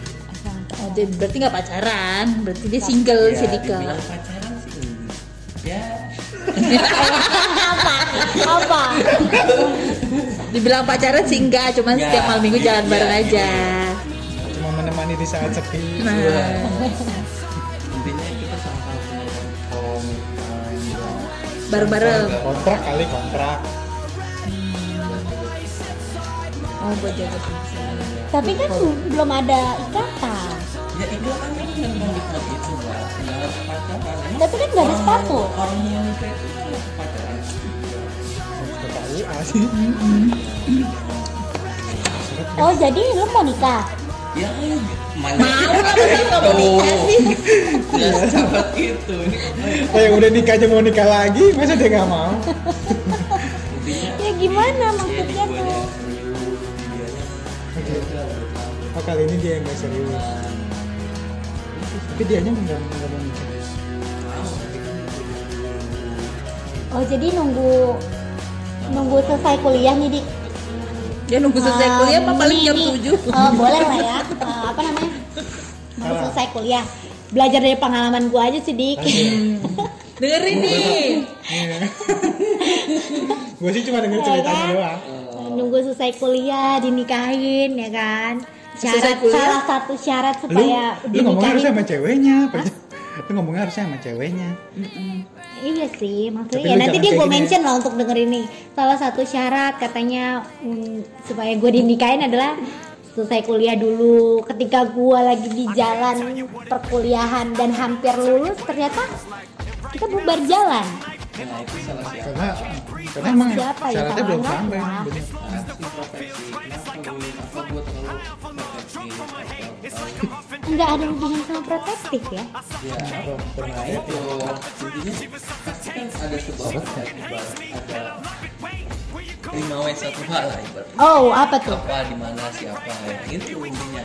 Speaker 2: Oh, jadi berarti nggak pacaran, berarti dia single
Speaker 4: ya
Speaker 2: sih Dika.
Speaker 4: dibilang pacaran sih enggak. ya
Speaker 3: Apa? Apa?
Speaker 2: Dibilang pacaran sih enggak, cuman
Speaker 4: Nggak,
Speaker 2: setiap malam minggu
Speaker 4: iya,
Speaker 2: jalan bareng
Speaker 4: iya,
Speaker 2: aja.
Speaker 1: Cuma menemani di saat sepi.
Speaker 2: Nah,
Speaker 4: Iya. intinya kita sama-sama punya komitmen lah.
Speaker 2: bareng-bareng.
Speaker 1: Kontrak kali kontrak.
Speaker 2: Oh, buat jaga
Speaker 3: Tapi kan belum ada ikatan
Speaker 4: ya itu kan kan dengan komitmen itu lah nggak harus pacaran Emang
Speaker 3: Tapi kan nggak ada
Speaker 4: orang-
Speaker 3: sepatu.
Speaker 4: orang yang nikah itu nggak harus pacaran
Speaker 1: Kota UA sih.
Speaker 3: Oh jadi lu mau nikah?
Speaker 4: Ya, mana
Speaker 2: Mau lah masa nggak mau nikah sih?
Speaker 4: Ya, gitu. sahabat itu. Ini
Speaker 1: Eh yang udah nikah aja mau nikah lagi, masa dia nggak mau?
Speaker 4: intinya
Speaker 3: Ya gimana
Speaker 4: dia di
Speaker 3: maksudnya tuh?
Speaker 4: gua yang serius, dia yang- dia udah bertahun.
Speaker 1: Oh kali ini dia yang nggak serius. Tapi dianya nggak nggak mau nikah.
Speaker 3: Oh jadi nunggu nunggu selesai kuliah nih dik
Speaker 2: Dia nunggu selesai
Speaker 3: Eh,
Speaker 2: kuliah apa paling
Speaker 3: ini-
Speaker 2: jam
Speaker 3: ini,
Speaker 2: 7
Speaker 3: eh, boleh lah ya Eh, apa namanya nunggu
Speaker 1: Apa?
Speaker 3: selesai kuliah belajar dari pengalaman gua aja sih dik
Speaker 2: Dengerin nih.
Speaker 1: Gue sih cuma denger
Speaker 3: Iya,
Speaker 1: ceritanya
Speaker 3: kan?
Speaker 1: doang.
Speaker 3: nunggu selesai kuliah dinikahin ya kan
Speaker 2: Selesai
Speaker 3: syarat
Speaker 2: kuliah?
Speaker 3: salah satu syarat
Speaker 1: Lu,
Speaker 3: supaya
Speaker 1: lu ngomong harusnya
Speaker 3: dinikahin
Speaker 1: sama ceweknya. Lu ngomong harusnya sama ceweknya.
Speaker 3: iya sih maksudnya
Speaker 1: Tapi
Speaker 3: ya
Speaker 1: lu
Speaker 3: nanti
Speaker 1: jangan
Speaker 3: dia
Speaker 1: kayak
Speaker 3: gue
Speaker 1: gini ya.
Speaker 3: mention lah untuk denger ini salah satu syarat katanya mm, supaya gue dinikahin adalah selesai kuliah dulu ketika gue lagi di jalan perkuliahan dan hampir lulus ternyata kita bubar jalan
Speaker 4: Nah, itu salah siapa?
Speaker 1: Karena karena emang
Speaker 3: Siapa ya,
Speaker 1: syaratnya
Speaker 3: kalau
Speaker 1: belum
Speaker 3: nggak
Speaker 1: sampai.
Speaker 3: pernah.
Speaker 1: Bener.
Speaker 4: Nah, Si profesi. Kenapa lu- apa gua terlalu proteksi? Nah, Atau-
Speaker 3: nggak ada hubungan sama protektif ya
Speaker 4: Ya, nah itu intinya pasti kan ada sebab ada akibat, ada lima W satu hal lah ibarat.
Speaker 3: oh apa tuh
Speaker 4: apa di mana siapa ya itu intinya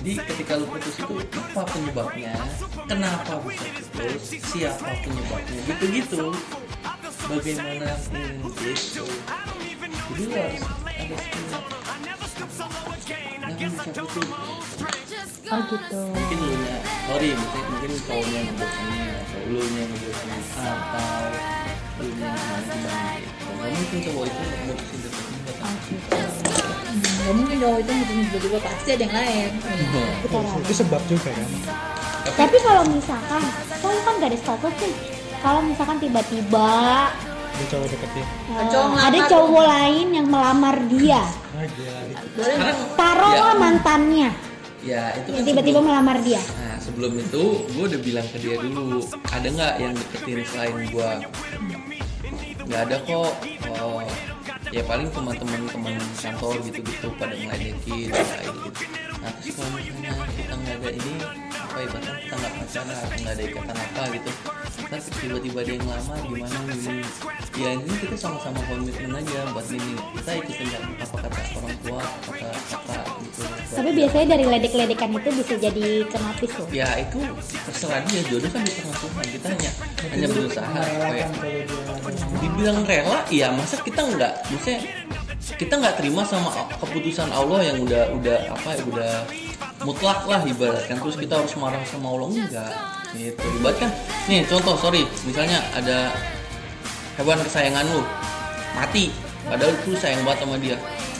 Speaker 4: jadi ketika lu putus itu apa penyebabnya kenapa bisa putus siapa penyebabnya gitu gitu bagaimana hmm, gitu jadi lu harus ada skill. jangan bisa
Speaker 5: Total mall strength.
Speaker 6: Oh gitu.
Speaker 4: mungkin lu nya sorry mungkin mungkin cowoknya yang ngebosannya atau lu nya yang ngebosannya atau lu nya yang ngebosannya gitu. Nggak mungkin cowok itu ngebosin tetap
Speaker 2: Gak mungkin cowok itu ngikutin tiba-tiba pasti ada yang lain.
Speaker 3: Betul banget.
Speaker 1: itu sebab juga kan
Speaker 3: Tapi kalau misalkan, kan kan gak ada status nih. Kalau misalkan tiba-tiba
Speaker 1: dia cowok deketin
Speaker 3: eh,
Speaker 2: Cowok ngelamar.
Speaker 3: ada cowok lain yang melamar dia,
Speaker 1: ah gila
Speaker 2: Boleh nggak?
Speaker 3: taruhlah
Speaker 4: Iya.
Speaker 3: mantannya
Speaker 4: ya itu kan
Speaker 3: yang tiba-tiba
Speaker 4: sebelum-
Speaker 3: melamar dia.
Speaker 4: Nah sebelum itu gue udah bilang ke dia dulu Ada nggak yang deketin selain gue Nggak ada kok oh, Ya paling cuma teman-teman kantor gitu-gitu pada ngeledekin kayak gitu. Nah terus kalau misalnya kita nggak ada ini Apa ya bahkan kita nggak pacaran nggak ada ikatan apa gitu Terus tiba-tiba dia yang lama gimana gini Ya ini kita sama-sama komitmen aja buat ini Kita ikutin apa kata orang tua apa kata kakak gitu
Speaker 3: Tapi biasanya dari ledek-ledekan itu bisa jadi kenapis loh.
Speaker 4: ya itu terserah dia jodoh kan di tangan Tuhan kita hanya hanya berusaha
Speaker 1: Oh, iya.
Speaker 4: supaya
Speaker 1: merelakan kalau dia
Speaker 4: dibilang rela ya masa kita nggak maksudnya kita nggak terima sama keputusan Allah yang udah udah apa ya, udah mutlak lah ibaratkan terus kita harus marah sama Allah enggak gitu ibaratkan nih contoh sorry misalnya ada hewan kesayangan lu mati padahal lu sayang banget sama dia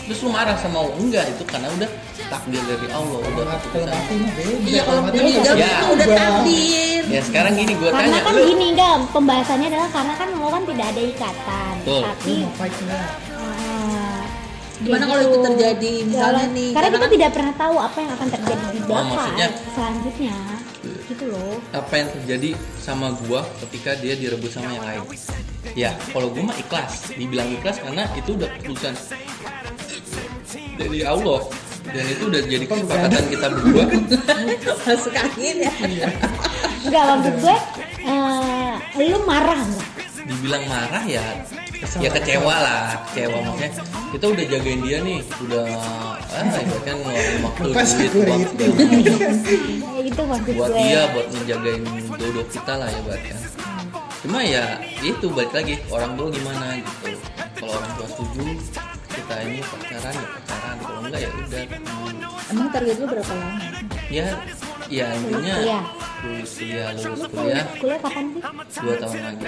Speaker 4: terus lu marah sama Allah enggak itu karena udah takdir dari Allah udah
Speaker 1: kalau
Speaker 4: keputusan
Speaker 1: mati mah beda
Speaker 2: Iya kalau
Speaker 1: mati
Speaker 2: beda
Speaker 1: mah
Speaker 4: Ya.
Speaker 2: itu udah
Speaker 1: berubah.
Speaker 2: takdir.
Speaker 4: ya sekarang gini gue
Speaker 3: Karena
Speaker 4: tanya
Speaker 3: kan
Speaker 4: lu
Speaker 3: gini Gam, pembahasannya adalah karena kan lo kan tidak ada ikatan,
Speaker 4: Betul.
Speaker 3: tapi
Speaker 1: Lu mau fight nggak?
Speaker 3: ah,
Speaker 2: Gimana
Speaker 3: gitu.
Speaker 2: kalau itu terjadi misalnya
Speaker 3: Kalau-
Speaker 2: nih?
Speaker 3: Karena kita
Speaker 2: kan-
Speaker 3: tidak pernah tahu apa yang akan terjadi di
Speaker 4: Oh,
Speaker 3: belakang
Speaker 4: maksudnya?
Speaker 3: selanjutnya, gitu loh.
Speaker 4: apa yang terjadi sama gua ketika dia direbut sama yang lain ya kalau gua mah ikhlas dibilang ikhlas karena itu udah keputusan dari Allah dan itu udah jadi kesepakatan kita berdua
Speaker 2: masuk angin ya.
Speaker 3: Enggak maksud gue, eh, lu marah nggak?
Speaker 4: dibilang marah ya ya kecewa lah kecewa maksudnya kita udah jagain dia nih udah ah kan ngeluarin waktu
Speaker 1: Pas
Speaker 4: duit
Speaker 1: security.
Speaker 4: uang segala macam.
Speaker 3: Ya, itu maksud
Speaker 4: buat
Speaker 3: gue.
Speaker 4: dia buat menjagain jodoh kita lah ya buat kan cuma ya itu balik lagi orang tua gimana gitu kalau orang tua setuju kita ini pacaran ya pacaran kalau enggak ya udah hmm.
Speaker 2: Emang target lu berapa lama?
Speaker 4: ya ya intinya
Speaker 3: Kuliah.
Speaker 4: lulus kuliah lulus
Speaker 3: Lu
Speaker 4: kuliah
Speaker 3: kuliah, kuliah kapan sih?
Speaker 4: dua tahun lagi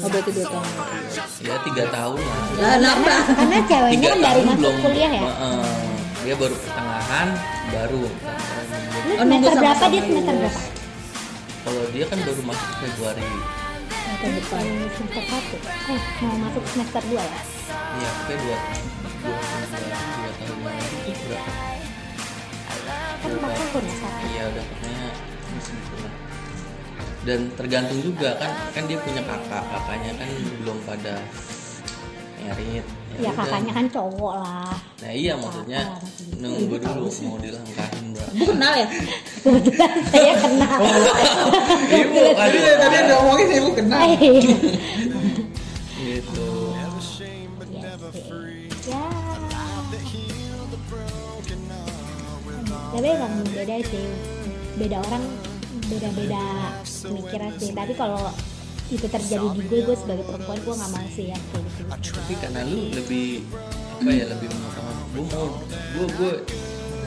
Speaker 2: Oh berarti dua tahun. Iya.
Speaker 4: ya tiga tahun lah
Speaker 2: Lah nambah.
Speaker 3: Karena ceweknya
Speaker 4: tiga
Speaker 3: Iya, kan dari
Speaker 4: tahun
Speaker 3: masuk
Speaker 4: belum
Speaker 3: kuliah ya.
Speaker 4: Heeh. dia baru pertengahan baru
Speaker 3: Lu
Speaker 2: Oh, nunggu
Speaker 3: semester berapa
Speaker 2: sama-sama
Speaker 3: dia semester berapa?
Speaker 4: kalau dia kan baru masuk Februari
Speaker 2: Tahun depan.
Speaker 3: Eh, Semester satu. Eh, mau masuk semester dua ya?
Speaker 4: Iya, kita dua dua dua dua tahun yang lalu itu berapa?
Speaker 3: Kan empat tahun ya satu.
Speaker 4: Iya, udah pokoknya musim itulah. Dan tergantung juga kan, kan dia punya kakak, kakaknya kan belum pada merit.
Speaker 3: Ya
Speaker 4: udah.
Speaker 3: kakaknya kan cowok lah.
Speaker 4: Nah iya maksudnya
Speaker 3: Kakak. gitu. Iya,
Speaker 4: nunggu dulu mau dilangkahin berapa?
Speaker 2: Lu kenal ya?
Speaker 3: Kebetulan saya
Speaker 4: Oh,
Speaker 3: kenal.
Speaker 4: Ibu
Speaker 3: iya,
Speaker 4: kan
Speaker 1: Tadi tadi yang ngomongin sih lu kenal
Speaker 3: Eh,
Speaker 4: gitu.
Speaker 3: ya. Tapi emang beda sih. Beda orang beda-beda pemikiran sih. Tapi kalau itu terjadi di gue, gue sebagai perempuan gue nggak mau sih ya kayak gitu.
Speaker 4: Tapi karena lu lebih apa ya lebih mengutamakan gue mau gue gue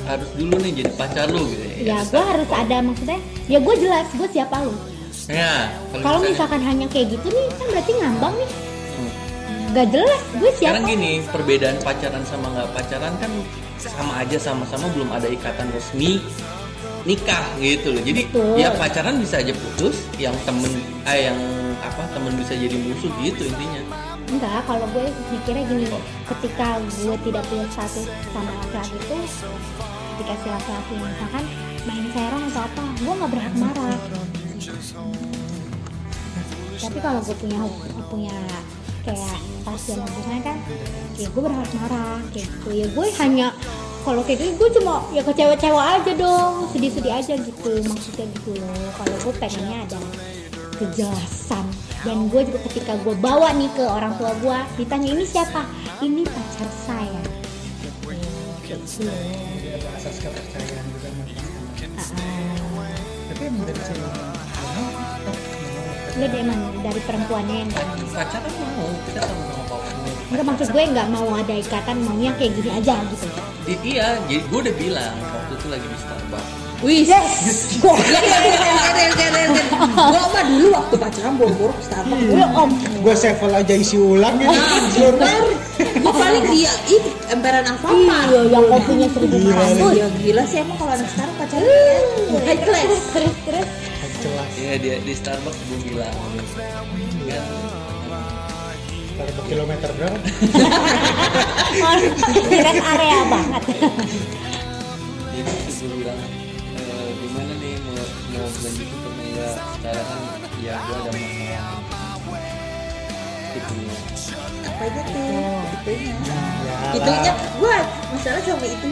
Speaker 4: harus dulu nih jadi pacar lu gitu ya.
Speaker 3: Ya gue harus ada maksudnya. Ya gue jelas gue siapa lu.
Speaker 4: Nah,
Speaker 3: Kalau misalkan hanya kayak gitu nih, kan berarti ngambang nih.
Speaker 4: Hmm.
Speaker 3: Gak jelas gue siapa.
Speaker 4: Sekarang gini, perbedaan pacaran sama nggak pacaran kan sama aja sama-sama belum ada ikatan resmi nikah gitu loh. Jadi
Speaker 3: Betul.
Speaker 4: ya pacaran bisa aja putus, yang temen eh yang apa temen bisa jadi musuh gitu intinya.
Speaker 3: Enggak, kalau gue mikirnya gini, ketika gue tidak punya status sama laki-laki itu, ketika si laki-laki misalkan main serong atau apa, gue nggak berhak marah. Tapi kalau gue punya punya kayak tas dan hubungan kan, ya gue berhak marah kayak gitu. Ya gue hanya kalau kayak gitu gue cuma ya kecewa-cewa aja dong, sedih-sedih aja gitu maksudnya gitu loh. Kalau gue pengennya ada kejelasan dan gue juga ketika gue bawa nih ke orang tua gue ditanya ini siapa ini pacar saya Gitu.
Speaker 1: asas kepercayaan juga
Speaker 3: Ah,
Speaker 1: tapi emang dari sini
Speaker 3: lu deh Iya, emang dari perempuannya yang nggak mau.
Speaker 4: Pacaran mau, kita sama-sama mau.
Speaker 3: nggak maksud gue nggak mau ada ikatan maunya kayak gini aja gitu
Speaker 4: I- iya, jadi gue udah bilang waktu itu lagi di Starbucks
Speaker 2: Wih, Iya,
Speaker 3: Yes.
Speaker 2: Gue mah dulu waktu pacaran borok-borok Starbucks
Speaker 3: Lu om.
Speaker 1: Gue sevel aja isi ulang ya.
Speaker 2: Ah, Bener, gue paling dia itu emperan apa
Speaker 3: Iya, yang kopinya seribu
Speaker 1: Iya.
Speaker 3: merah.
Speaker 2: Ya gila sih emang kalau anak sekarang pacaran ya. High class.
Speaker 3: Terus terus terus.
Speaker 1: Jelas.
Speaker 4: ya dia di Starbucks gue bilang Enggak.
Speaker 1: Starbucks kilometer berapa?
Speaker 3: Oh, rest area banget.
Speaker 4: jadi itu gue bilang e, gimana nih mau mau lanjutin ke Maya sekarang kan ya gue ada masalah Gitu. itunya
Speaker 2: Apa aja tuh? Itunya.
Speaker 1: Yalah.
Speaker 2: Itunya gue masalah sama itu.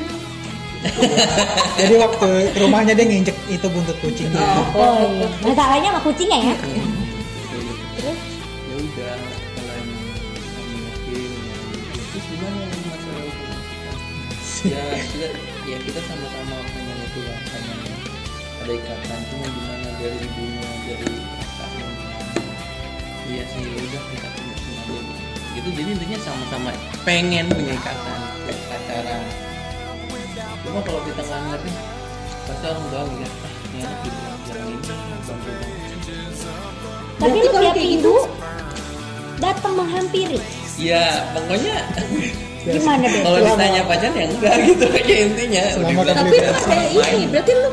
Speaker 1: Jadi waktu ke rumahnya dia nginjek itu buntut kucingnya.
Speaker 3: Oh, iya. masalahnya sama kucingnya ya.
Speaker 4: Kayak gitu.
Speaker 3: Terus
Speaker 4: ya udah kalau emang kamu yakin ya udah. terus gimana yang masalah hubungan kita ya kita ya kita sama-sama pengen itu lah pengen ada ikatan cuma gimana dari ibunya dari kakaknya gimana. iya sih ya udah kita punya aja gitu. gitu jadi intinya sama-sama pengen punya ikatan pacaran cuma kalau kita nggak ngerti pasti orang doang ya ah, ini anak gini, jangan ini jangan ini."
Speaker 3: Tapi
Speaker 2: Berarti
Speaker 3: lu
Speaker 2: kalau
Speaker 3: tiap
Speaker 2: kayak
Speaker 3: minggu datang menghampiri.
Speaker 4: ya pokoknya
Speaker 3: Gimana deh?
Speaker 4: kalau
Speaker 1: Selama-
Speaker 4: ditanya pacar ya enggak gitu aja intinya udah
Speaker 1: Selama
Speaker 4: bilang
Speaker 1: kamu Beli
Speaker 2: Tapi lu
Speaker 4: sama
Speaker 2: kayak
Speaker 4: main.
Speaker 2: ini, berarti lu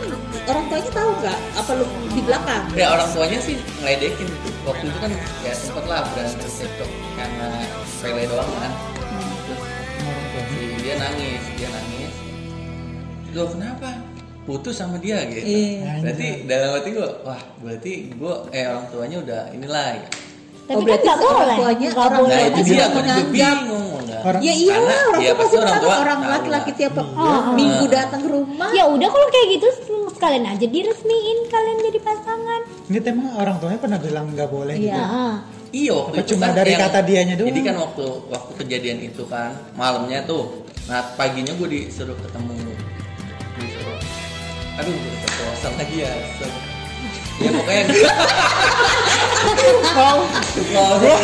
Speaker 2: orang tuanya tahu nggak? Apa lu di belakang?
Speaker 4: ya orang tuanya sih ngeledekin waktu itu kan ya sempet lah berantem cekcok karena pele doang kan terus si dia nangis dia nangis loh kenapa putus sama dia gitu
Speaker 2: Iya.
Speaker 4: berarti dalam hati gue wah berarti gue eh orang tuanya udah inilah ya.
Speaker 3: Tapi
Speaker 2: Oh,
Speaker 3: kan
Speaker 2: berarti
Speaker 3: nggak
Speaker 2: orang
Speaker 3: boleh.
Speaker 2: tuanya-
Speaker 3: Nggak
Speaker 2: orang
Speaker 4: nah
Speaker 3: boleh.
Speaker 4: itu
Speaker 2: tuanya
Speaker 4: dia
Speaker 2: sudah
Speaker 4: aku juga
Speaker 2: menganggap.
Speaker 4: bingung enggak
Speaker 1: Orang-
Speaker 2: Ya iyalah
Speaker 4: Karena
Speaker 2: orang
Speaker 4: ya
Speaker 2: tua pasti
Speaker 4: orang
Speaker 2: tahu
Speaker 4: tua
Speaker 2: orang
Speaker 4: tahu
Speaker 2: laki-laki
Speaker 4: lah.
Speaker 2: tiap
Speaker 3: Oh,
Speaker 2: minggu
Speaker 4: oh.
Speaker 2: datang ke rumah.
Speaker 3: Ya udah kalau kayak gitu sekalian aja diresmiin kalian jadi pasangan.
Speaker 1: Ini tema orang tuanya pernah bilang nggak boleh gitu.
Speaker 2: Iya.
Speaker 3: Heeh.
Speaker 4: Iya waktu
Speaker 1: Apa
Speaker 4: itu
Speaker 1: cuma
Speaker 4: kan
Speaker 1: dari kata dianya doang?
Speaker 4: Jadi kan waktu waktu kejadian itu kan malamnya tuh. Nah paginya gue disuruh ketemu. Disuruh. Aduh gue keceplosan lagi ya. So- Ya pokoknya Wow. Wow.
Speaker 2: Eh,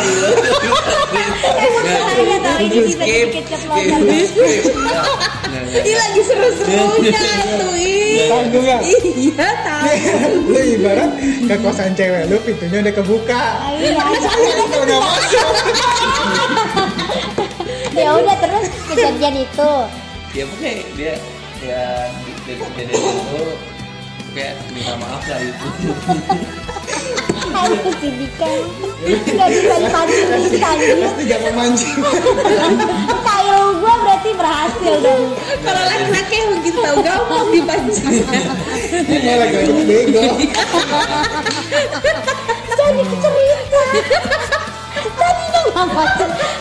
Speaker 3: Eh, Saya tahu ini
Speaker 4: Skip.
Speaker 3: tiba-tiba keceplosan.
Speaker 4: Skip. Nah, nah,
Speaker 2: Ini lagi seru-serunya tuh. ih.
Speaker 1: Tahu juga.
Speaker 2: Iya tahu.
Speaker 1: lu ibarat ke kosan cewek lu pintunya udah kebuka.
Speaker 3: Iya.
Speaker 1: Itu udah masuk.
Speaker 3: Ya udah terus kejadian itu.
Speaker 4: ya pokoknya dia ya di- dari kejadian itu kayak minta maaf lah itu.
Speaker 3: Hai
Speaker 2: Iya.
Speaker 3: kesidikan. Gak bisa dipancing dipancing.
Speaker 1: Pasti jangan mancing.
Speaker 3: Style gua berarti berhasil dong.
Speaker 2: Kalau laki-laki yang begitu tahu gampang dipancing.
Speaker 1: Ini malah gak bego.
Speaker 3: Jadi cerita. Tadi dia nggak ngomong.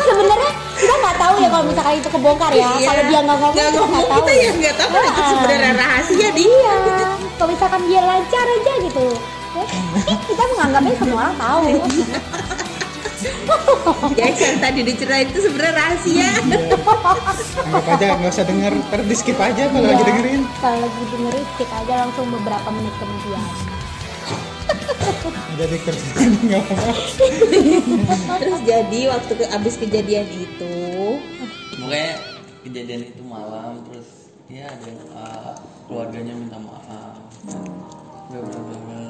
Speaker 3: Sebenarnya kita nggak tahu ya kalau misalkan itu kebongkar ya.
Speaker 2: Iya.
Speaker 3: Kalau dia nggak ngomong,
Speaker 2: Nggak
Speaker 3: kita
Speaker 2: ngomong,
Speaker 3: nggak
Speaker 2: kita
Speaker 3: tahu. ya. Ah.
Speaker 2: yang nggak tahu itu
Speaker 3: Heeh.
Speaker 2: sebenarnya rahasia dia.
Speaker 3: Iya. Kalau misalkan dia lancar aja gitu. ya, kita menganggapnya semua orang tahu.
Speaker 2: Ya yang tadi diceritain itu sebenarnya rahasia.
Speaker 1: Anggap aja nggak usah denger. Ntar di skip aja kalau lagi
Speaker 3: Iya.
Speaker 1: dengerin.
Speaker 3: Kalau lagi dengerin, skip aja langsung beberapa menit kemudian.
Speaker 1: Jadi kerjaan nggak apa-apa.
Speaker 2: Terus jadi waktu ke, abis kejadian itu,
Speaker 4: Makanya kejadian itu malam terus ya ada yang uh, keluarganya minta maaf. Bla bla bla bla.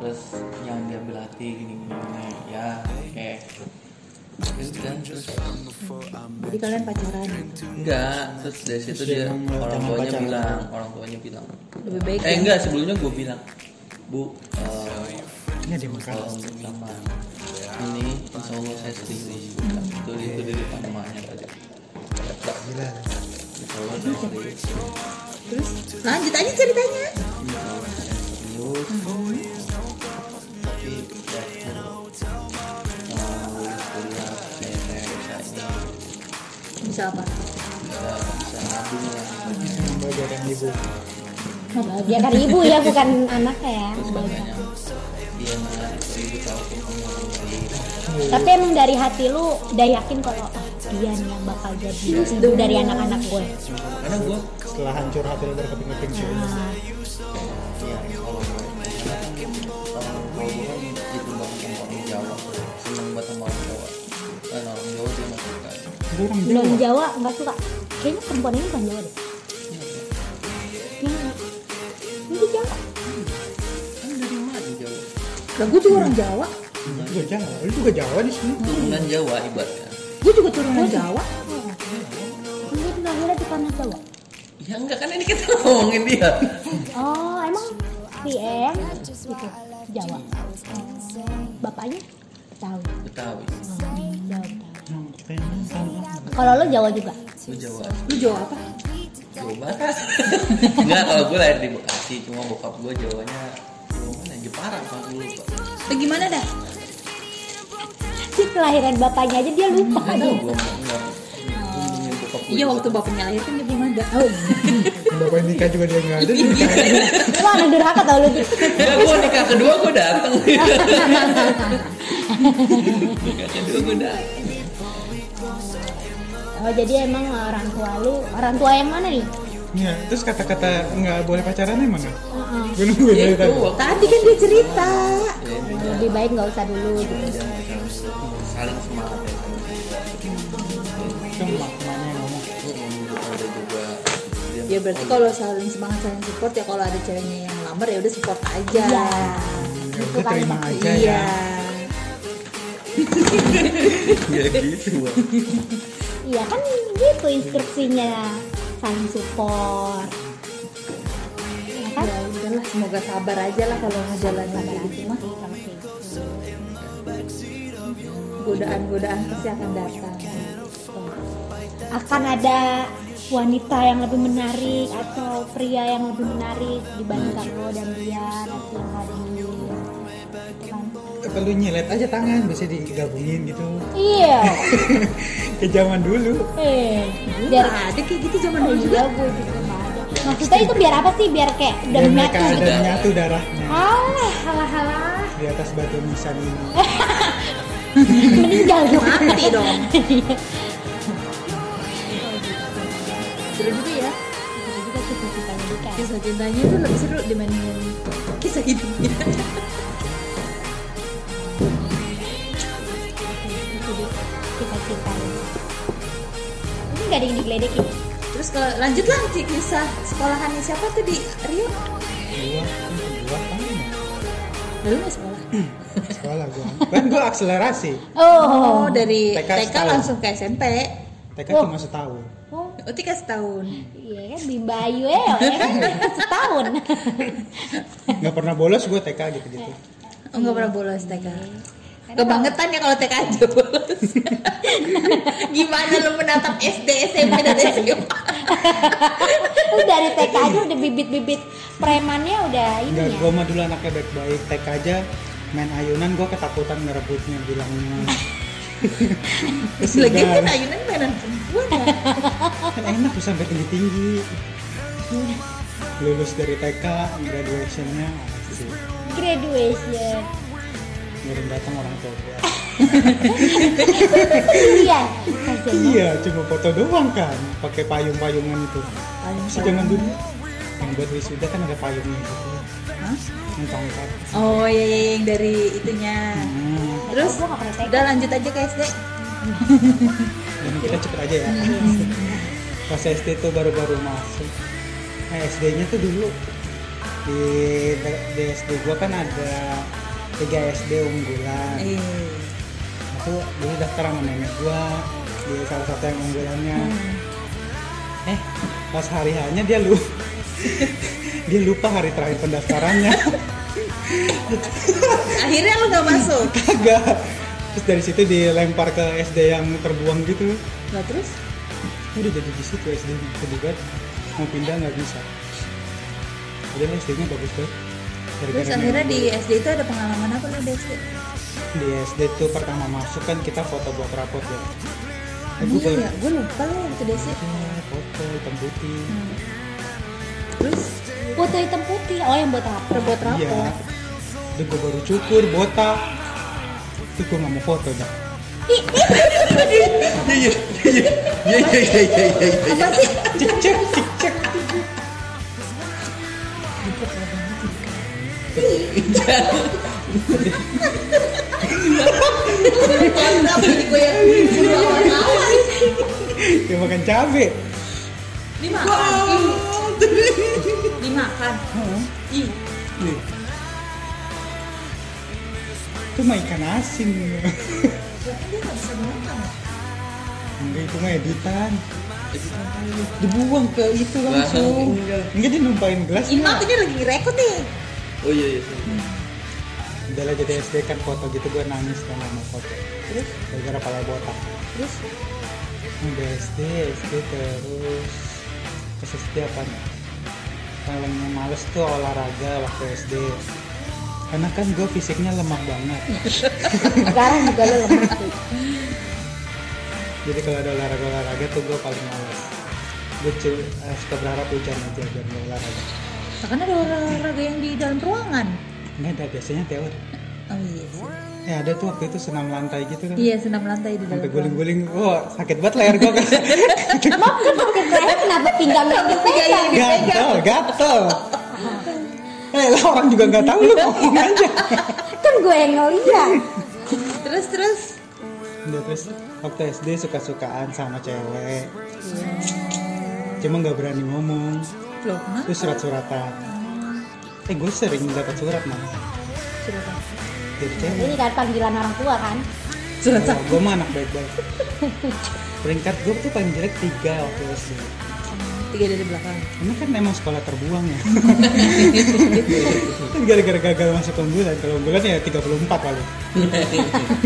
Speaker 4: Terus yang diambil hati gini gini. gini. Ya oke. Terus kan terus
Speaker 2: jadi kalian pacaran
Speaker 4: enggak terus dari situ
Speaker 1: Terus dia
Speaker 4: dia
Speaker 1: bilang, "Jangan
Speaker 4: orang tuanya
Speaker 1: pacaran."
Speaker 4: bilang orang tuanya bilang
Speaker 2: lebih baik.
Speaker 4: eh
Speaker 2: ya?
Speaker 4: enggak sebelumnya gue bilang bu eh,
Speaker 1: Ini ada makan.
Speaker 4: kalau untuk sama ini insya Allah saya setuju itu itu di depan emaknya tadi
Speaker 1: Gila.
Speaker 4: insya Allah saya setuju
Speaker 2: Terus Nah, lanjut aja ceritanya.
Speaker 4: serius tapi ya mau kuliah saya saya bisa ini
Speaker 2: Bisa apa?
Speaker 4: bisa bisa nabung lah
Speaker 1: Bagi ada yang ibu.
Speaker 3: Membahagiakan ibu ya, bukan anaknya ya.
Speaker 4: terus katanya dia nggak seribu tahu kok kamu orang baik
Speaker 3: Tapi emang dari hati lu udah yakin kalau ah, dia nih yang bakal jadi ibu dari anak-anak gue.
Speaker 4: karena gue
Speaker 1: Setelah hancur hati lu berkeping-keping sih.
Speaker 3: Nah,
Speaker 4: ya kalau gue kalau kalau gue kan itu banget sama orang Jawa seneng banget sama orang Jawa dan orang Jawa dia masih kayak
Speaker 1: Orang
Speaker 3: Iya. belum Jawa nggak suka. Kayaknya perempuan ini bukan Jawa deh.
Speaker 1: Lah gue Nah, juga orang Jawa. Gue juga Iya. Jawa, lu juga Jawa di sini.
Speaker 4: turunan Jawa ibaratnya
Speaker 1: Gue juga turunan Jawa.
Speaker 3: Gue lahirnya di tanah Jawa.
Speaker 4: ya enggak kan ini kita ngomongin dia
Speaker 3: Oh, emang Pieng itu Jawa. Bapaknya tahu.
Speaker 4: Betawi
Speaker 3: Jawa. Kalau lo Jawa juga.
Speaker 4: gue Jawa
Speaker 2: Lu jawab apa?
Speaker 4: Jawa Barat enggak kalau gue lahir di Bekasi cuma bokap gue Jawanya Jawa mana Jepara kan dulu Pak.
Speaker 2: Bagaimana dah?
Speaker 3: Si kelahiran bapaknya aja dia lupa.
Speaker 4: nggak tahu gue mau nggak Gua ngomongin bokap gue
Speaker 2: Iya waktu bapaknya lahir kan dia belum ada.
Speaker 1: Bapak nikah juga dia nggak ada. dia nikahin.
Speaker 3: Lo anak durhaka tau lo tuh.
Speaker 2: kan
Speaker 4: Enggak, gue nikah kedua gue dateng Nikah kedua gue dateng
Speaker 3: Oh, jadi emang orang tua lu, orang tua yang mana nih?
Speaker 1: Iya, terus kata-kata nggak boleh pacaran emang ya?
Speaker 3: Heeh.
Speaker 1: Gue nungguin dari
Speaker 4: Itu
Speaker 1: tadi.
Speaker 4: waktu
Speaker 2: Tadi kan dia cerita.
Speaker 4: ya,
Speaker 3: Lebih baik nggak usah dulu gitu.
Speaker 4: saling semangat ya
Speaker 1: Itu emak- emaknya yang ngomong.
Speaker 4: ada juga dia-
Speaker 2: Ya berarti kalau saling semangat saling support ya kalau ada ceweknya yang lamar ya udah support
Speaker 3: Iya.
Speaker 2: aja.
Speaker 1: Ya udah terima aja ya.
Speaker 2: Iya.
Speaker 4: ya gitu Bang.
Speaker 3: Iya kan gitu instruksinya saling support. Ya kan?
Speaker 2: Ya udahlah semoga sabar aja lah kalau ngejalanin kayak gitu mah.
Speaker 3: gitu.
Speaker 2: Godaan-godaan pasti akan datang.
Speaker 3: Akan ada wanita yang lebih menarik atau pria yang lebih menarik dibandingkan lo dan dia nanti yang ada di kan?
Speaker 1: Apa lu nyelet aja tangan, bisa digabungin gitu.
Speaker 3: Iya,
Speaker 1: Ke zaman dulu.
Speaker 3: eh, biar
Speaker 2: Biar ada kayak gitu zaman dulu juga.
Speaker 3: juga gue juga nggak ada. Maksudnya itu biar apa sih? Biar kayak udah
Speaker 1: Dan mereka
Speaker 3: menyatu gitu.
Speaker 1: ada nyatu darahnya
Speaker 3: Alah, alah, alah.
Speaker 1: di atas batu nisan ini.
Speaker 3: Meninggal dong.
Speaker 2: Mati dong.
Speaker 3: Iya.
Speaker 2: Seru juga ya.
Speaker 3: Itu juga sih cita-citanya Dika.
Speaker 2: Kisah cintanya itu lebih seru dibandingin kisah hidupnya.
Speaker 3: Itu dia gitu cita-citanya. Ini gak ada yang digeledekin. ya?
Speaker 2: Terus kalau lanjut lah di kisah sekolahannya siapa tuh di Rio?
Speaker 1: Gua, gua kan
Speaker 2: Lalu nggak ya sekolah?
Speaker 1: sekolah gua. Kan gua akselerasi.
Speaker 2: Oh,
Speaker 3: Oh,
Speaker 2: dari
Speaker 1: TK
Speaker 2: TK,
Speaker 1: setahun.
Speaker 2: langsung ke SMP.
Speaker 1: TK
Speaker 3: Oh.
Speaker 1: cuma setahun.
Speaker 3: oh
Speaker 2: Oh, TK setahun.
Speaker 3: iya kan Bimba Ayu eh, ya kan setahun.
Speaker 1: Nggak pernah bolos gua TK gitu-gitu.
Speaker 2: Oh, nggak pernah bolos TK. Kebangetan ya kalau TK aja bolos. Gimana lu menatap SD, SMP, dan SMA?
Speaker 3: Lu dari TK aja udah bibit-bibit premannya udah ini
Speaker 1: Enggak,
Speaker 3: ya.
Speaker 1: gua mah dulu anaknya baik-baik. TK aja main ayunan gua ketakutan ngerebutnya bilangnya.
Speaker 2: Terus lagi kan ayunan mainan perempuan ya.
Speaker 1: kan enak tuh sampai tinggi-tinggi. Lulus dari TK, graduationnya asik.
Speaker 3: Graduation.
Speaker 1: ngirim datang orang tua gua.
Speaker 3: Iya. Kasian banget.
Speaker 1: Iya, cuma foto doang kan, pakai payung-payungan itu. Sih jangan dulu. Yang buat wisuda kan ada payungnya gitu.
Speaker 2: Hah?
Speaker 1: Yang tongkat.
Speaker 2: Oh, iya, iya, yang dari itunya.
Speaker 1: Hmm.
Speaker 2: Terus,
Speaker 3: Gua nggak pernah TK.
Speaker 2: udah lanjut aja ke SD.
Speaker 1: Dan kita cepet aja ya. Pas SD tuh baru-baru masuk. Nah, SD-nya tuh dulu di, di SD gua kan ada tiga SD unggulan.
Speaker 2: Eh.
Speaker 1: Aku dulu daftar sama nenek gua di salah satu yang unggulannya. Eh, pas hari hanya dia lu dia lupa hari terakhir pendaftarannya.
Speaker 2: Akhirnya lu nggak masuk.
Speaker 1: Kagak. Terus dari situ dilempar ke SD yang terbuang gitu.
Speaker 2: Nah terus?
Speaker 1: udah jadi di situ SD nya terlibat mau pindah nggak bisa padahal SD nya bagus banget Gara-gara
Speaker 2: Terus
Speaker 1: main
Speaker 2: akhirnya
Speaker 1: bola.
Speaker 2: di SD itu ada pengalaman apa lu di SD?
Speaker 1: di SD tuh pertama masuk kan kita foto buat rapor ya Eh, gua
Speaker 2: Iya
Speaker 1: baru-
Speaker 2: ya, gue lupa lah waktu di SD.
Speaker 1: Iya, foto hitam putih
Speaker 2: Terus
Speaker 3: Foto hitam putih. Oh, yang buat apa?
Speaker 2: terbuat
Speaker 1: iya
Speaker 2: rapor.
Speaker 1: itu gue baru cukur botak itu gue nggak mau foto dah
Speaker 4: Iya, iya, iya, iya, iya, iya, iya,
Speaker 2: Apa
Speaker 4: iya.
Speaker 2: sih?
Speaker 1: cek cek cek cek
Speaker 2: Kontrak jadi gue yang lawan.
Speaker 1: dia makan cabe
Speaker 2: Dimakan. Ih. Dimakan. Ih.
Speaker 1: Nih. itu mah ikan asin enggak itu mah editan dibuang ke itu langsung Iya. enggak dia numpain gelas
Speaker 2: Ini mah akunya lagi ngerekod nih.
Speaker 4: Oh iya iya. sorry.
Speaker 1: udah lah jadi SD kan foto gitu gue nangis kan sama foto
Speaker 2: Terus?
Speaker 1: gara-gara kepala botak
Speaker 2: Terus?
Speaker 1: udah SD SD terus terus SD apa nih paling males tuh olahraga waktu SD karena kan gue fisiknya lemah banget
Speaker 3: Sekarang juga lo lemah tuh.
Speaker 1: jadi kalau ada olahraga olahraga tuh gue paling males gue cu- eh, suka berharap hujan aja biar gak olahraga
Speaker 2: Karena ada olahraga yang di dalam ruangan.
Speaker 1: nggak ada biasanya teori
Speaker 2: Oh iya sih.
Speaker 1: eh ada tuh waktu itu senam lantai gitu kan
Speaker 2: Iya senam lantai di dalam
Speaker 1: sampai
Speaker 2: ruangan.
Speaker 1: guling-guling wah sakit banget leher gue kan
Speaker 3: Mau ke kan pakai keren kenapa pinggang lo dipegang?
Speaker 1: gatel gatel eh lah orang juga nggak tahu lu ngomong
Speaker 2: Iya.
Speaker 1: aja
Speaker 3: Kan gue yang ngeliat.
Speaker 2: Terus terus.
Speaker 1: udah terus waktu SD suka-sukaan sama
Speaker 2: Iya.
Speaker 1: cewek cuma nggak berani ngomong
Speaker 2: Loh, kenapa?
Speaker 1: terus surat-suratan eh gue sering dapat surat mah
Speaker 2: Surat apa?
Speaker 1: dari cewek
Speaker 3: Ini kan panggilan orang tua kan?
Speaker 2: Surat apa?
Speaker 1: gue mah anak baik-baik peringkat gue tuh paling jelek tiga waktu SD
Speaker 2: Tiga dari belakang.
Speaker 1: karena kan emang sekolah terbuang ya kan gara-gara gagal masuk unggulan kalau unggulan ya 34 kali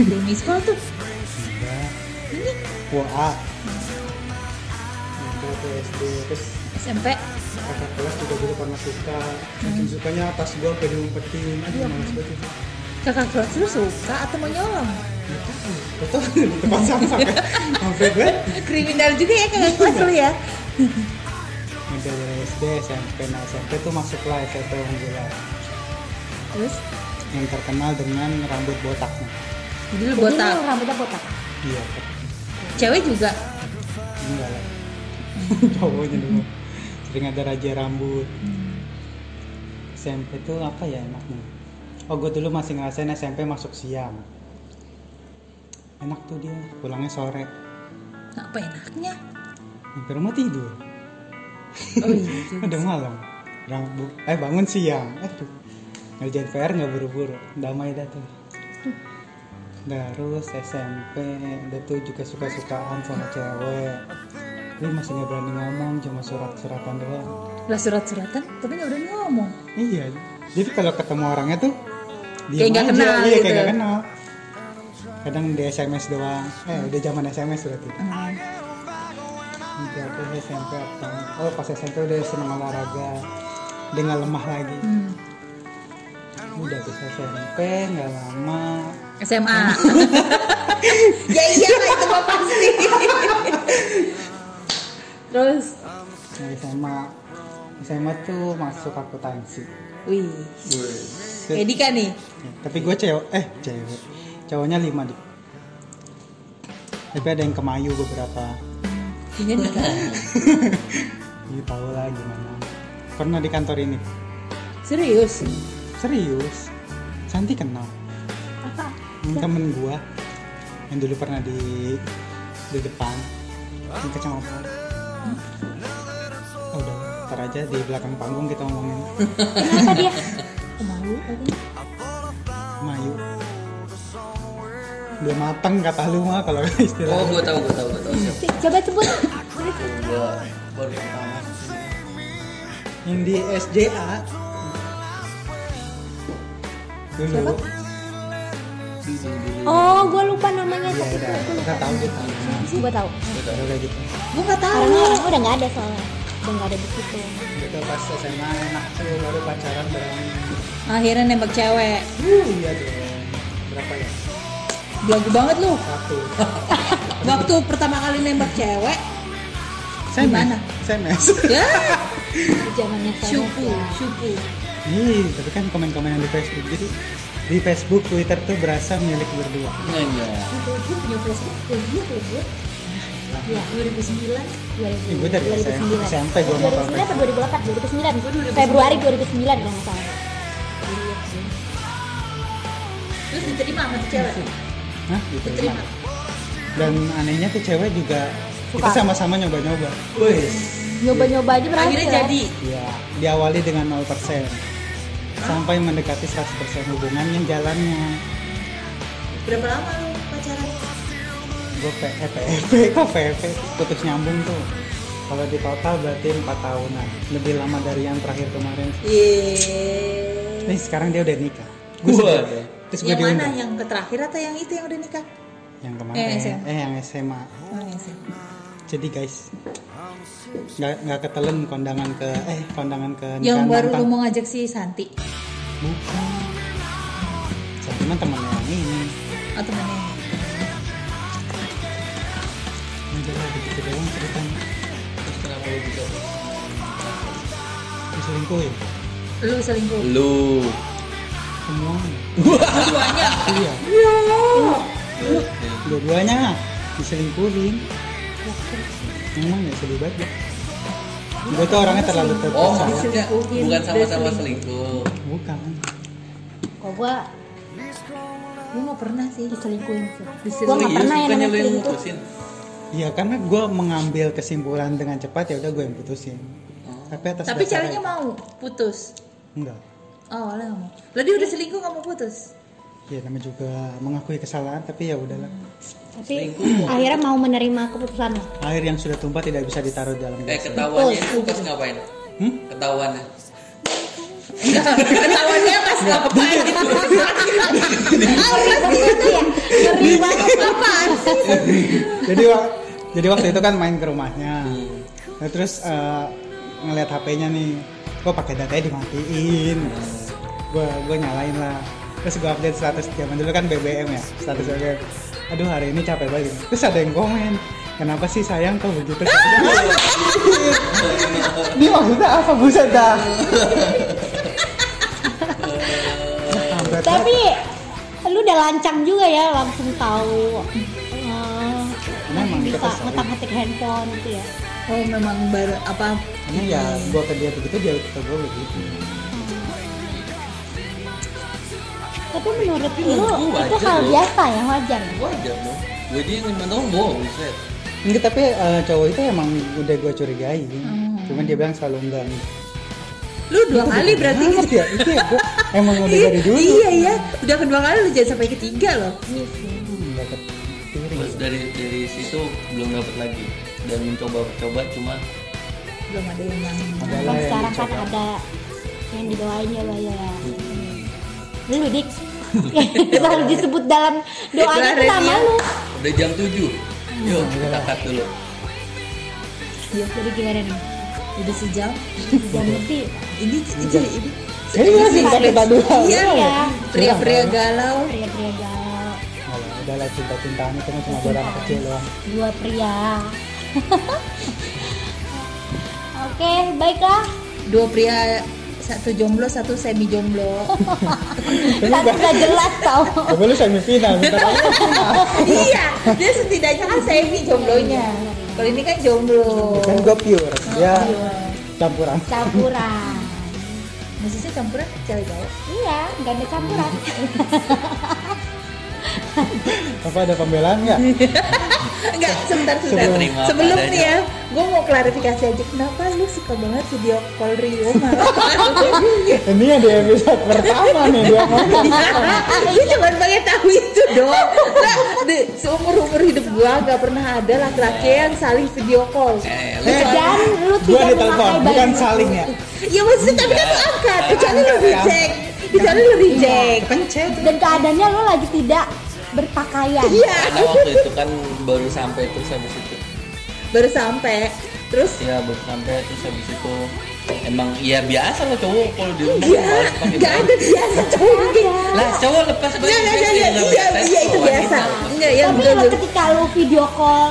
Speaker 2: Demi sekolah tuh.
Speaker 1: enggak
Speaker 2: Ini
Speaker 1: wah ah. Nah, itu waktu SD terus
Speaker 2: SMP.
Speaker 1: kakak kelas juga dulu pernah suka makin sukanya pas gue sampai diumpetin aduh males banget itu
Speaker 2: Kakak kelas lu suka atau mau nyolong?
Speaker 1: Nggak tahu. Betul, di tempat sampah kan sampai gue
Speaker 2: Kriminal juga ya kakak kelas lu ya.
Speaker 1: udah dari SD SMP nah SMP tuh masuklah SMP unggulan
Speaker 2: Terus?
Speaker 1: yang terkenal dengan rambut botaknya
Speaker 2: Jadi lu
Speaker 3: Jadi
Speaker 2: botak.
Speaker 3: lo rambutnya botak.
Speaker 1: iya
Speaker 2: Cewek juga.
Speaker 1: enggak lah cowoknya dulu sering ada raja rambut SMP tuh apa ya enaknya oh gue dulu masih ngerasain SMP masuk siang enak tuh dia pulangnya sore
Speaker 2: Nah, apa enaknya?
Speaker 1: Yang ke rumah tidur
Speaker 2: Oh iya.
Speaker 1: udah malam rambut eh bangun siang aduh ngerjain PR nggak buru-buru damai dah tuh terus SMP udah tuh juga suka-sukaan sama cewek Gue masih nggak berani ngomong cuma surat-suratan doang
Speaker 2: Lah surat-suratan tapi gak berani ngomong.
Speaker 1: Iya. Jadi kalau ketemu orangnya tuh
Speaker 2: Kayak nggak
Speaker 1: aja.
Speaker 2: kenal
Speaker 1: Iya, kayak
Speaker 2: gitu.
Speaker 1: nggak kenal. Kadang di SMS doang. Eh, udah zaman SMS berarti.
Speaker 2: Hmm.
Speaker 1: Enggak, aku SMP apa? Oh, pas SMP udah seneng olahraga. Udah nggak lemah lagi.
Speaker 2: Hmm.
Speaker 1: Udah bisa SMP, nggak lama.
Speaker 2: SMA. ya iya lah itu mah pasti. Terus,
Speaker 1: Nah, SMA SMA tuh masuk akuntansi.
Speaker 2: wih,
Speaker 4: Wih.
Speaker 1: Set.
Speaker 2: Edika nih.
Speaker 1: Ya, Tapi gue cewek, eh cewek, cowoknya lima nih. Tapi ada yang kemayu beberapa.
Speaker 2: Kayaknya Dika.
Speaker 1: Ini Iya, tahu lah gimana. Pernah di kantor ini.
Speaker 2: Serius.
Speaker 1: Serius. Santi kenal.
Speaker 3: Apa?
Speaker 1: Ini Temen gua yang dulu pernah di di depan di kecamatan. Oh, udah, ntar aja di belakang panggung kita ngomongin
Speaker 3: Kenapa dia? Kemalu tadi.
Speaker 1: Mayu. Belum matang kata lu mah kalau istilah.
Speaker 4: Oh gue tahu gue tahu gue tahu siapa.
Speaker 3: Si- Coba sebut.
Speaker 4: Gue baru pertama.
Speaker 1: Yang di SJA. Dulu.
Speaker 3: Oh, gue lupa namanya
Speaker 1: Iya,
Speaker 3: tapi
Speaker 1: udah.
Speaker 3: gue lupa.
Speaker 1: Kita tahu gitu.
Speaker 3: Gue tahu.
Speaker 1: Udah udah gitu.
Speaker 2: Gue gak tahu.
Speaker 3: Orangnya orangnya udah nggak ada soalnya. Udah nggak ada di situ.
Speaker 1: Itu pas SMA enak tuh baru pacaran bareng
Speaker 2: Akhirnya nembak cewek.
Speaker 1: Uh, iya dong Berapa ya?
Speaker 2: Belagu banget lu.
Speaker 1: Satu
Speaker 2: Waktu pertama kali nembak cewek, Gimana?
Speaker 1: SMS
Speaker 2: ya
Speaker 3: Di zamannya
Speaker 2: syupu,
Speaker 3: saya.
Speaker 2: syupu.
Speaker 1: Ih, tapi kan komen-komen yang di Facebook Jadi di Facebook, Twitter tuh berasa milik berdua
Speaker 4: Nanya.
Speaker 3: punya Facebook Facebook Facebook ya 2009
Speaker 1: Ih, gue dari SMP gue mau
Speaker 3: 2009
Speaker 1: pakai
Speaker 3: atau 2008 2009 Februari 2009 kalau nggak salah
Speaker 2: Terus diterima sama tuh cewek.
Speaker 1: Hah? Diterima Dan anehnya tuh cewek juga
Speaker 3: Suka.
Speaker 1: Kita sama-sama nyoba-nyoba
Speaker 4: Wih.
Speaker 3: nyoba-nyoba aja berhasil
Speaker 2: Akhirnya
Speaker 3: ya.
Speaker 2: jadi.
Speaker 1: Iya, diawali dengan 0% Sampai mendekati 100% hubungan yang jalannya
Speaker 2: Berapa lama lu pacaran?
Speaker 1: gue PFP eh, kok PFP putus nyambung tuh kalau di total berarti empat tahunan lebih lama dari yang terakhir kemarin
Speaker 2: Yeay.
Speaker 1: nih sekarang dia udah nikah
Speaker 4: Gua.
Speaker 1: sedih. terus gue
Speaker 2: Yang mana?
Speaker 1: diundang
Speaker 2: Yang ke terakhir atau yang itu yang udah nikah?
Speaker 1: yang kemarin
Speaker 2: Eh, SMA.
Speaker 1: eh yang SMA
Speaker 2: Oh, yang SMA.
Speaker 1: jadi guys nggak nggak ketelen kondangan ke eh kondangan ke
Speaker 2: Yang
Speaker 1: nikahan
Speaker 2: baru
Speaker 1: mantan.
Speaker 2: lu mau ngajak si Santi
Speaker 1: bukan cuman temennya yang ini
Speaker 2: atau mana?
Speaker 1: Udah lah, begitu gitu doang ceritanya
Speaker 4: Terus kenapa lu bisa?
Speaker 1: diselingkuhin
Speaker 2: Lu selingkuh.
Speaker 4: Lu.
Speaker 1: semuanya
Speaker 2: Duanya.
Speaker 1: iya dua-duanya diselingkuhin emang ya sedih banget gue tuh orangnya terlalu
Speaker 4: Oh,
Speaker 1: terpaksa
Speaker 4: maksudnya
Speaker 2: Diselingkuhin,
Speaker 4: bukan sama-sama
Speaker 2: udah
Speaker 4: selingkuh.
Speaker 1: bukan
Speaker 3: Kok gua
Speaker 2: Lu mau pernah sih
Speaker 3: diselingkuhin sih. Gua
Speaker 2: diselingkuh.
Speaker 4: Oh
Speaker 3: nggak
Speaker 4: iya,
Speaker 3: pernah yang
Speaker 4: bukannya lu
Speaker 3: namanya
Speaker 4: yang
Speaker 3: selingkuh.
Speaker 4: mutusin.
Speaker 1: iya karena gue mengambil kesimpulan dengan cepat ya udah gue yang putusin tapi atas
Speaker 2: Tapi
Speaker 1: dasar
Speaker 2: ceweknya
Speaker 1: apa?
Speaker 2: mau putus.
Speaker 1: enggak
Speaker 2: Oh, awalnya nggak mau. Lah dia udah selingkuh nggak mau putus.
Speaker 1: ya namanya juga mengakui kesalahan tapi ya udahlah
Speaker 3: Tapi akhirnya mau menerima keputusan lo.
Speaker 1: air yang sudah tumpah tidak bisa ditaruh dalam
Speaker 4: Eh
Speaker 1: gelas
Speaker 4: ketahuannya
Speaker 3: Betul.
Speaker 4: itu pas ngapain?
Speaker 1: Hmm?
Speaker 4: Ketahuannya.
Speaker 2: Ketahuannya pas ngapain?
Speaker 3: Ngeri banget.
Speaker 2: Apaan sih?
Speaker 1: jadi wa- jadi waktu itu kan main ke rumahnya Nah, terus eh, ngeliat HP-nya nih gue pakai datanya dimatiin gue gue nyalain lah terus gue update status zaman dulu kan BBM ya status BBM aduh hari ini capek banget terus ada yang komen kenapa sih sayang kau begitu ini maksudnya apa buset dah Sampai
Speaker 3: Tapi lu udah lancang juga ya langsung tahu eh,
Speaker 1: Memang kita
Speaker 3: bisa
Speaker 1: saling.
Speaker 3: ngetak-ngetik handphone gitu ya.
Speaker 2: Oh, memang baru apa?
Speaker 1: ini ya gue ke dia begitu dia ke gue begitu
Speaker 3: Tapi menurut lu
Speaker 4: Menurut gua
Speaker 3: itu
Speaker 4: wajar
Speaker 3: hal
Speaker 4: loh.
Speaker 3: biasa ya wajar. ya?
Speaker 4: Wajar dong. Gue dia lima tahun bohong, buset.
Speaker 1: Enggak, tapi eh, cowok itu emang udah gue curigai. Cuman dia bilang selalu enggak.
Speaker 2: Lu dua kali berarti
Speaker 1: Banget ya, itu ya gue emang udah dari dulu.
Speaker 2: Iya iya, udah kedua kali lu jangan sampai ketiga loh.
Speaker 1: Enggak kepikiran.
Speaker 4: Terus dari dari situ belum dapat lagi dan mencoba-coba cuma
Speaker 2: Belum ada yang yang
Speaker 1: Ada lah
Speaker 3: Dan
Speaker 1: yang
Speaker 3: sekarang kan
Speaker 1: dicoba. Hmm.
Speaker 3: ada yang didoain ya Mbak, ya. Lu dik selalu disebut dalam doanya
Speaker 2: Doa
Speaker 3: tuh nama
Speaker 2: Renia.
Speaker 3: lu.
Speaker 4: udah jam 7. Yuk, kita cut dulu.
Speaker 3: Iya, Jadi gimana nih?
Speaker 2: udah sejam.
Speaker 3: Jam lebih.
Speaker 2: Ini ini ini.
Speaker 1: Serius
Speaker 2: Ini-
Speaker 1: cinta kita dua.
Speaker 2: Iya
Speaker 3: Iya.
Speaker 2: ya. Pria-pria galau.
Speaker 3: oh, Pria-pria galau.
Speaker 1: Malah, udah lah cinta-cintaan itu mah cuma barang kecil doang.
Speaker 3: Dua pria. Oke, baiklah.
Speaker 2: Dua pria satu jomblo satu semi jomblo
Speaker 3: Satu gak jelas tau.
Speaker 1: Coba lu semifinal, minta tolong.
Speaker 2: iya dia setidaknya kan semi jomblonya kalau ini kan jomblo Iya.
Speaker 1: Kan gue pure, dia campuran.
Speaker 3: Campuran.
Speaker 2: maksudnya campuran cewek cowok
Speaker 3: Iya, gak ada campuran.
Speaker 1: Apa ada pembelaan nggak?
Speaker 2: Enggak, sebentar sebentar.
Speaker 4: Saya terima apa
Speaker 2: Sebelum nih
Speaker 4: adanya.
Speaker 2: ya, gue mau klarifikasi aja kenapa lu suka banget video call Rio malah.
Speaker 1: Ini yang di episode pertama nih dia ngomong.
Speaker 2: lu cuma pengen tahu itu doang. Nah, di- seumur umur hidup gua nggak pernah ada laki-laki yang saling video call.
Speaker 4: Eh, lu
Speaker 1: Eh,
Speaker 3: Dan lu
Speaker 1: gue
Speaker 3: tidak
Speaker 1: ditelepon,
Speaker 3: memakai
Speaker 1: bukan
Speaker 3: baju.
Speaker 1: saling ya.
Speaker 2: Ya maksudnya tapi kan lu angkat, kecuali lu reject, kecuali lu reject.
Speaker 1: Pencet.
Speaker 3: Dan keadaannya lu lagi tidak berpakaian.
Speaker 2: Iya,
Speaker 4: karena waktu itu kan baru sampai terus habis itu.
Speaker 2: baru sampai. Terus
Speaker 4: Ya baru sampai terus habis itu emang ya biasa lah cowok kalau di rumah
Speaker 2: ya,
Speaker 4: malas pakai
Speaker 2: nggak
Speaker 4: baju.
Speaker 2: ada biasa cowok gitu.
Speaker 4: Lah cowok lepas baju.
Speaker 2: Nggak, nggak,
Speaker 4: guys,
Speaker 2: nggak,
Speaker 4: ya
Speaker 2: nggak.
Speaker 4: nggak
Speaker 2: Iya,
Speaker 4: pakai
Speaker 2: iya
Speaker 4: tas,
Speaker 2: itu
Speaker 4: wanita.
Speaker 2: biasa. Enggak, ya
Speaker 3: Tapi
Speaker 2: betul,
Speaker 3: lu
Speaker 2: betul.
Speaker 3: ketika lu video call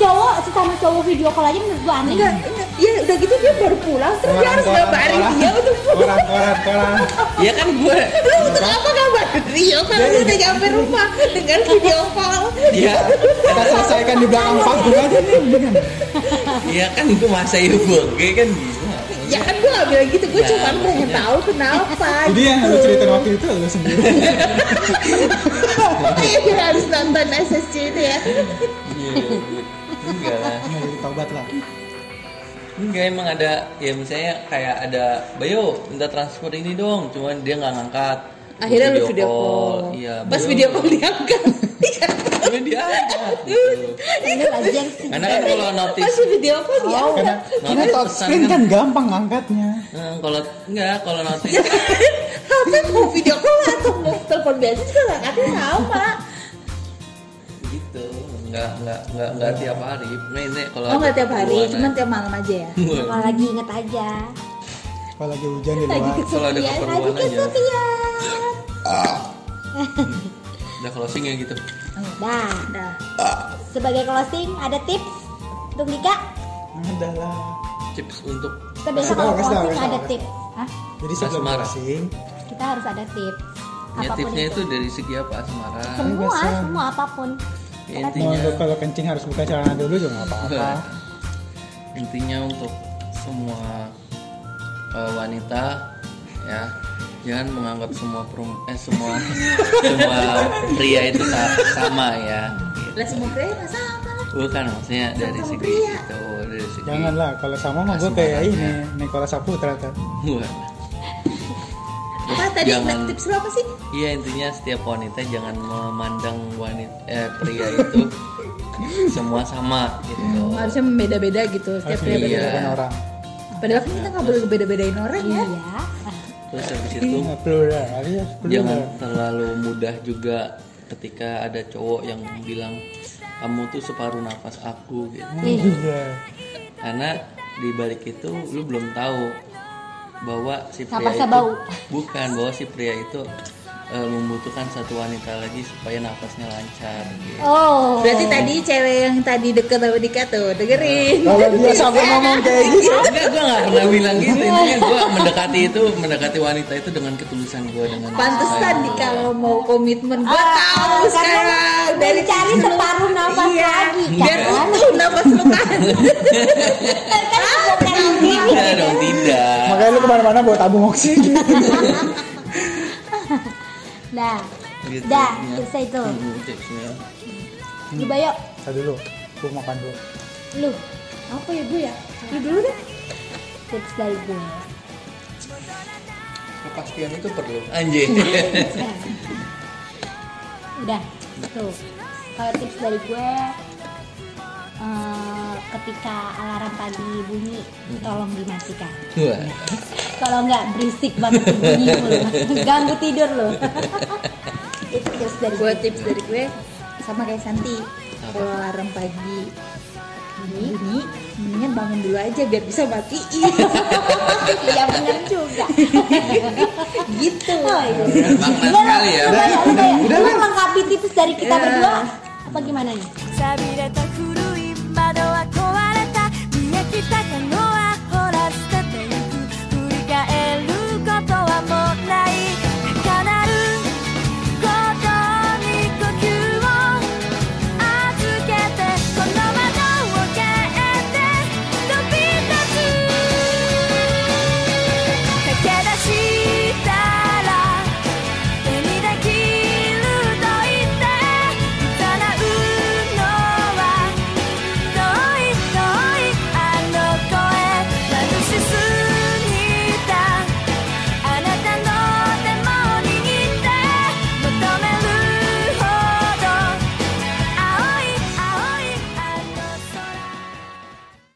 Speaker 3: cowok sesama cowok video call aja menurut gua aneh.
Speaker 2: Enggak, enggak. Ya udah gitu dia baru pulang terus dia harus ngabarin dia untuk
Speaker 1: Koran, koran, koran.
Speaker 4: Iya kan gue
Speaker 2: Lu untuk apa kabar? Rio kalau lu udah nyampe rumah dengan video call.
Speaker 4: Iya
Speaker 1: Kita selesaikan di belakang panggung aja nih. mendingan.
Speaker 4: Iya kan gue masa ya gue Kayak kan gila
Speaker 2: Ya kan gue gak bilang gitu, gue
Speaker 4: Nah,
Speaker 2: cuma pengen
Speaker 4: maksudnya.
Speaker 2: tahu kenapa
Speaker 1: Jadi yang
Speaker 2: gitu.
Speaker 1: lu cerita waktu itu lu sendiri.
Speaker 2: Iya, dia harus nonton SSC itu ya
Speaker 4: Iya Enggak lah
Speaker 1: Ya, jadi tobat lah.
Speaker 4: Enggak emang ada Ya misalnya kayak ada Bayo minta transfer ini dong Cuman dia nggak ngangkat
Speaker 2: akhirnya lu video call.
Speaker 4: Iya,
Speaker 2: Pas
Speaker 4: baru-
Speaker 2: video call Iya. diangkat.
Speaker 4: Baru diangkat, gitu.
Speaker 3: Ini lagian sih.
Speaker 4: Karena kan kalau
Speaker 2: Pas
Speaker 4: notice
Speaker 2: video call diangkat.
Speaker 1: karena karena
Speaker 4: Notice
Speaker 1: top
Speaker 4: pesan
Speaker 1: screen kan gampang angkatnya
Speaker 4: Eh, kalau enggak kalau notice
Speaker 2: Apa mau video call atau mau telepon biasa juga angkatnya sama.
Speaker 4: gitu nggak nggak nggak nggak tiap hari nih nih kalau
Speaker 2: Oh nggak
Speaker 4: ada
Speaker 2: tiap hari,
Speaker 4: keperluan
Speaker 2: cuman
Speaker 4: aja.
Speaker 2: tiap malam aja ya.
Speaker 3: Kalau lagi inget aja.
Speaker 1: kalau lagi hujan di
Speaker 3: Lagi
Speaker 1: luar
Speaker 4: Kalau ada
Speaker 3: kesepian, lagi
Speaker 4: keperluan aja.
Speaker 3: kesepian.
Speaker 4: udah closing ya gitu
Speaker 3: Nah,
Speaker 2: Dah.
Speaker 3: sebagai closing ada tips untuk Dika.
Speaker 1: Nah, adalah
Speaker 4: tips untuk
Speaker 3: Kita biasa
Speaker 1: Kasih
Speaker 3: kalau
Speaker 1: tahu, kasih tahu,
Speaker 3: closing
Speaker 1: kasih
Speaker 3: ada
Speaker 1: tahu.
Speaker 3: tips. Hah?
Speaker 1: jadi sebelum
Speaker 4: Asmara.
Speaker 1: closing
Speaker 3: Kita harus ada tips.
Speaker 4: ya
Speaker 3: Apapun
Speaker 4: tipsnya
Speaker 3: itu.
Speaker 4: itu ah. dari segi apa asmara
Speaker 3: Semua,
Speaker 1: Bahasa.
Speaker 3: semua apapun.
Speaker 4: Ya,
Speaker 3: Kita
Speaker 1: mau
Speaker 4: intinya
Speaker 1: lu kalau kencing harus buka celana dulu juga nggak apa-apa
Speaker 4: intinya untuk semua eh, wanita ya jangan menganggap semua perum eh semua semua pria itu sa- sama ya
Speaker 2: Lah semua pria nggak sama.
Speaker 4: bukan maksudnya dari
Speaker 2: Sama
Speaker 4: segi
Speaker 2: pria.
Speaker 4: itu dari segi
Speaker 1: janganlah kalau sama mah gue kayak ini Nikola Saputra kan. tuh
Speaker 4: Wah. Terus
Speaker 2: Apa tadi
Speaker 4: jangan
Speaker 2: tips lu apa sih?
Speaker 4: iya intinya setiap wanita jangan memandang wanita eh, pria itu semua sama gitu
Speaker 2: Harusnya membeda-beda gitu setiap
Speaker 1: harus
Speaker 2: pria
Speaker 4: Iya.
Speaker 2: beda.
Speaker 1: dibedakan orang
Speaker 2: Padahal kan kita nggak boleh beda-bedain orang ya.
Speaker 3: Iya.
Speaker 4: terus habis itu
Speaker 2: Iya.
Speaker 1: Nah, plural ya
Speaker 4: jangan
Speaker 1: plural
Speaker 4: terlalu mudah juga ketika ada cowok yang bilang kamu tuh separuh nafas aku gitu
Speaker 1: iya
Speaker 4: karena di balik itu lu belum tahu bahwa si pria
Speaker 3: Napas
Speaker 4: itu
Speaker 3: bau.
Speaker 4: bukan bahwa si pria itu eh, membutuhkan satu wanita lagi supaya nafasnya lancar gitu.
Speaker 3: Oh.
Speaker 2: Berarti tadi cewek yang tadi deket sama Dika tuh dengerin.
Speaker 3: Oh.
Speaker 1: kalau dia sampai ngomong kayak gitu
Speaker 4: Enggak, gue gak pernah bilang gitu Intinya gue mendekati itu Mendekati wanita itu dengan ketulusan gue dengan
Speaker 2: Pantesan
Speaker 4: sayang
Speaker 2: Dika
Speaker 4: gua.
Speaker 2: lo mau komitmen
Speaker 3: Ah,
Speaker 2: gua
Speaker 3: ya.
Speaker 2: tahu
Speaker 3: karena
Speaker 2: sekarang dari
Speaker 3: mencari separuh nafas
Speaker 2: iya,
Speaker 3: lagi, kan?
Speaker 2: biar utuh nafas lu kan.
Speaker 3: Bukan ini.
Speaker 4: Enggak dong, tidak
Speaker 1: makanya lu kemana-mana bawa tabung oksigen
Speaker 3: Nah,
Speaker 4: Gitu,
Speaker 3: dah,
Speaker 4: ya.
Speaker 3: tipsnya itu.
Speaker 4: Hmm, tipsnya.
Speaker 3: Coba yuk,
Speaker 1: Tadi dulu gue makan dulu
Speaker 3: lu. Apa ya gue ya? Lu dulu deh. Tips dari gue.
Speaker 4: Kepastian itu perlu Anjir
Speaker 3: Udah, tuh. Kalau tips dari gue, eh, ketika alarm pagi bunyi, tolong dimatikan.
Speaker 4: Wah,
Speaker 3: Kalau nggak berisik banget tuh bunyi mulu, ganggu tidur lo. itu tips dari
Speaker 2: Gua
Speaker 3: gue.
Speaker 2: tips dari gue sama kayak Santi. Kalau alarm pagi ini ini mendingan bangun dulu aja biar bisa matiin
Speaker 3: Iya benar juga.
Speaker 2: gitu.
Speaker 3: Oh, iya.
Speaker 4: Makna sekali ya
Speaker 3: Udah,
Speaker 1: Udah,
Speaker 3: udah,
Speaker 1: udah,
Speaker 3: Lu
Speaker 1: udah.
Speaker 3: melengkapi tips dari kita
Speaker 2: Ya.
Speaker 3: berdua apa gimana nih?
Speaker 5: 錆びれた古い窓は壊れた見えきたかの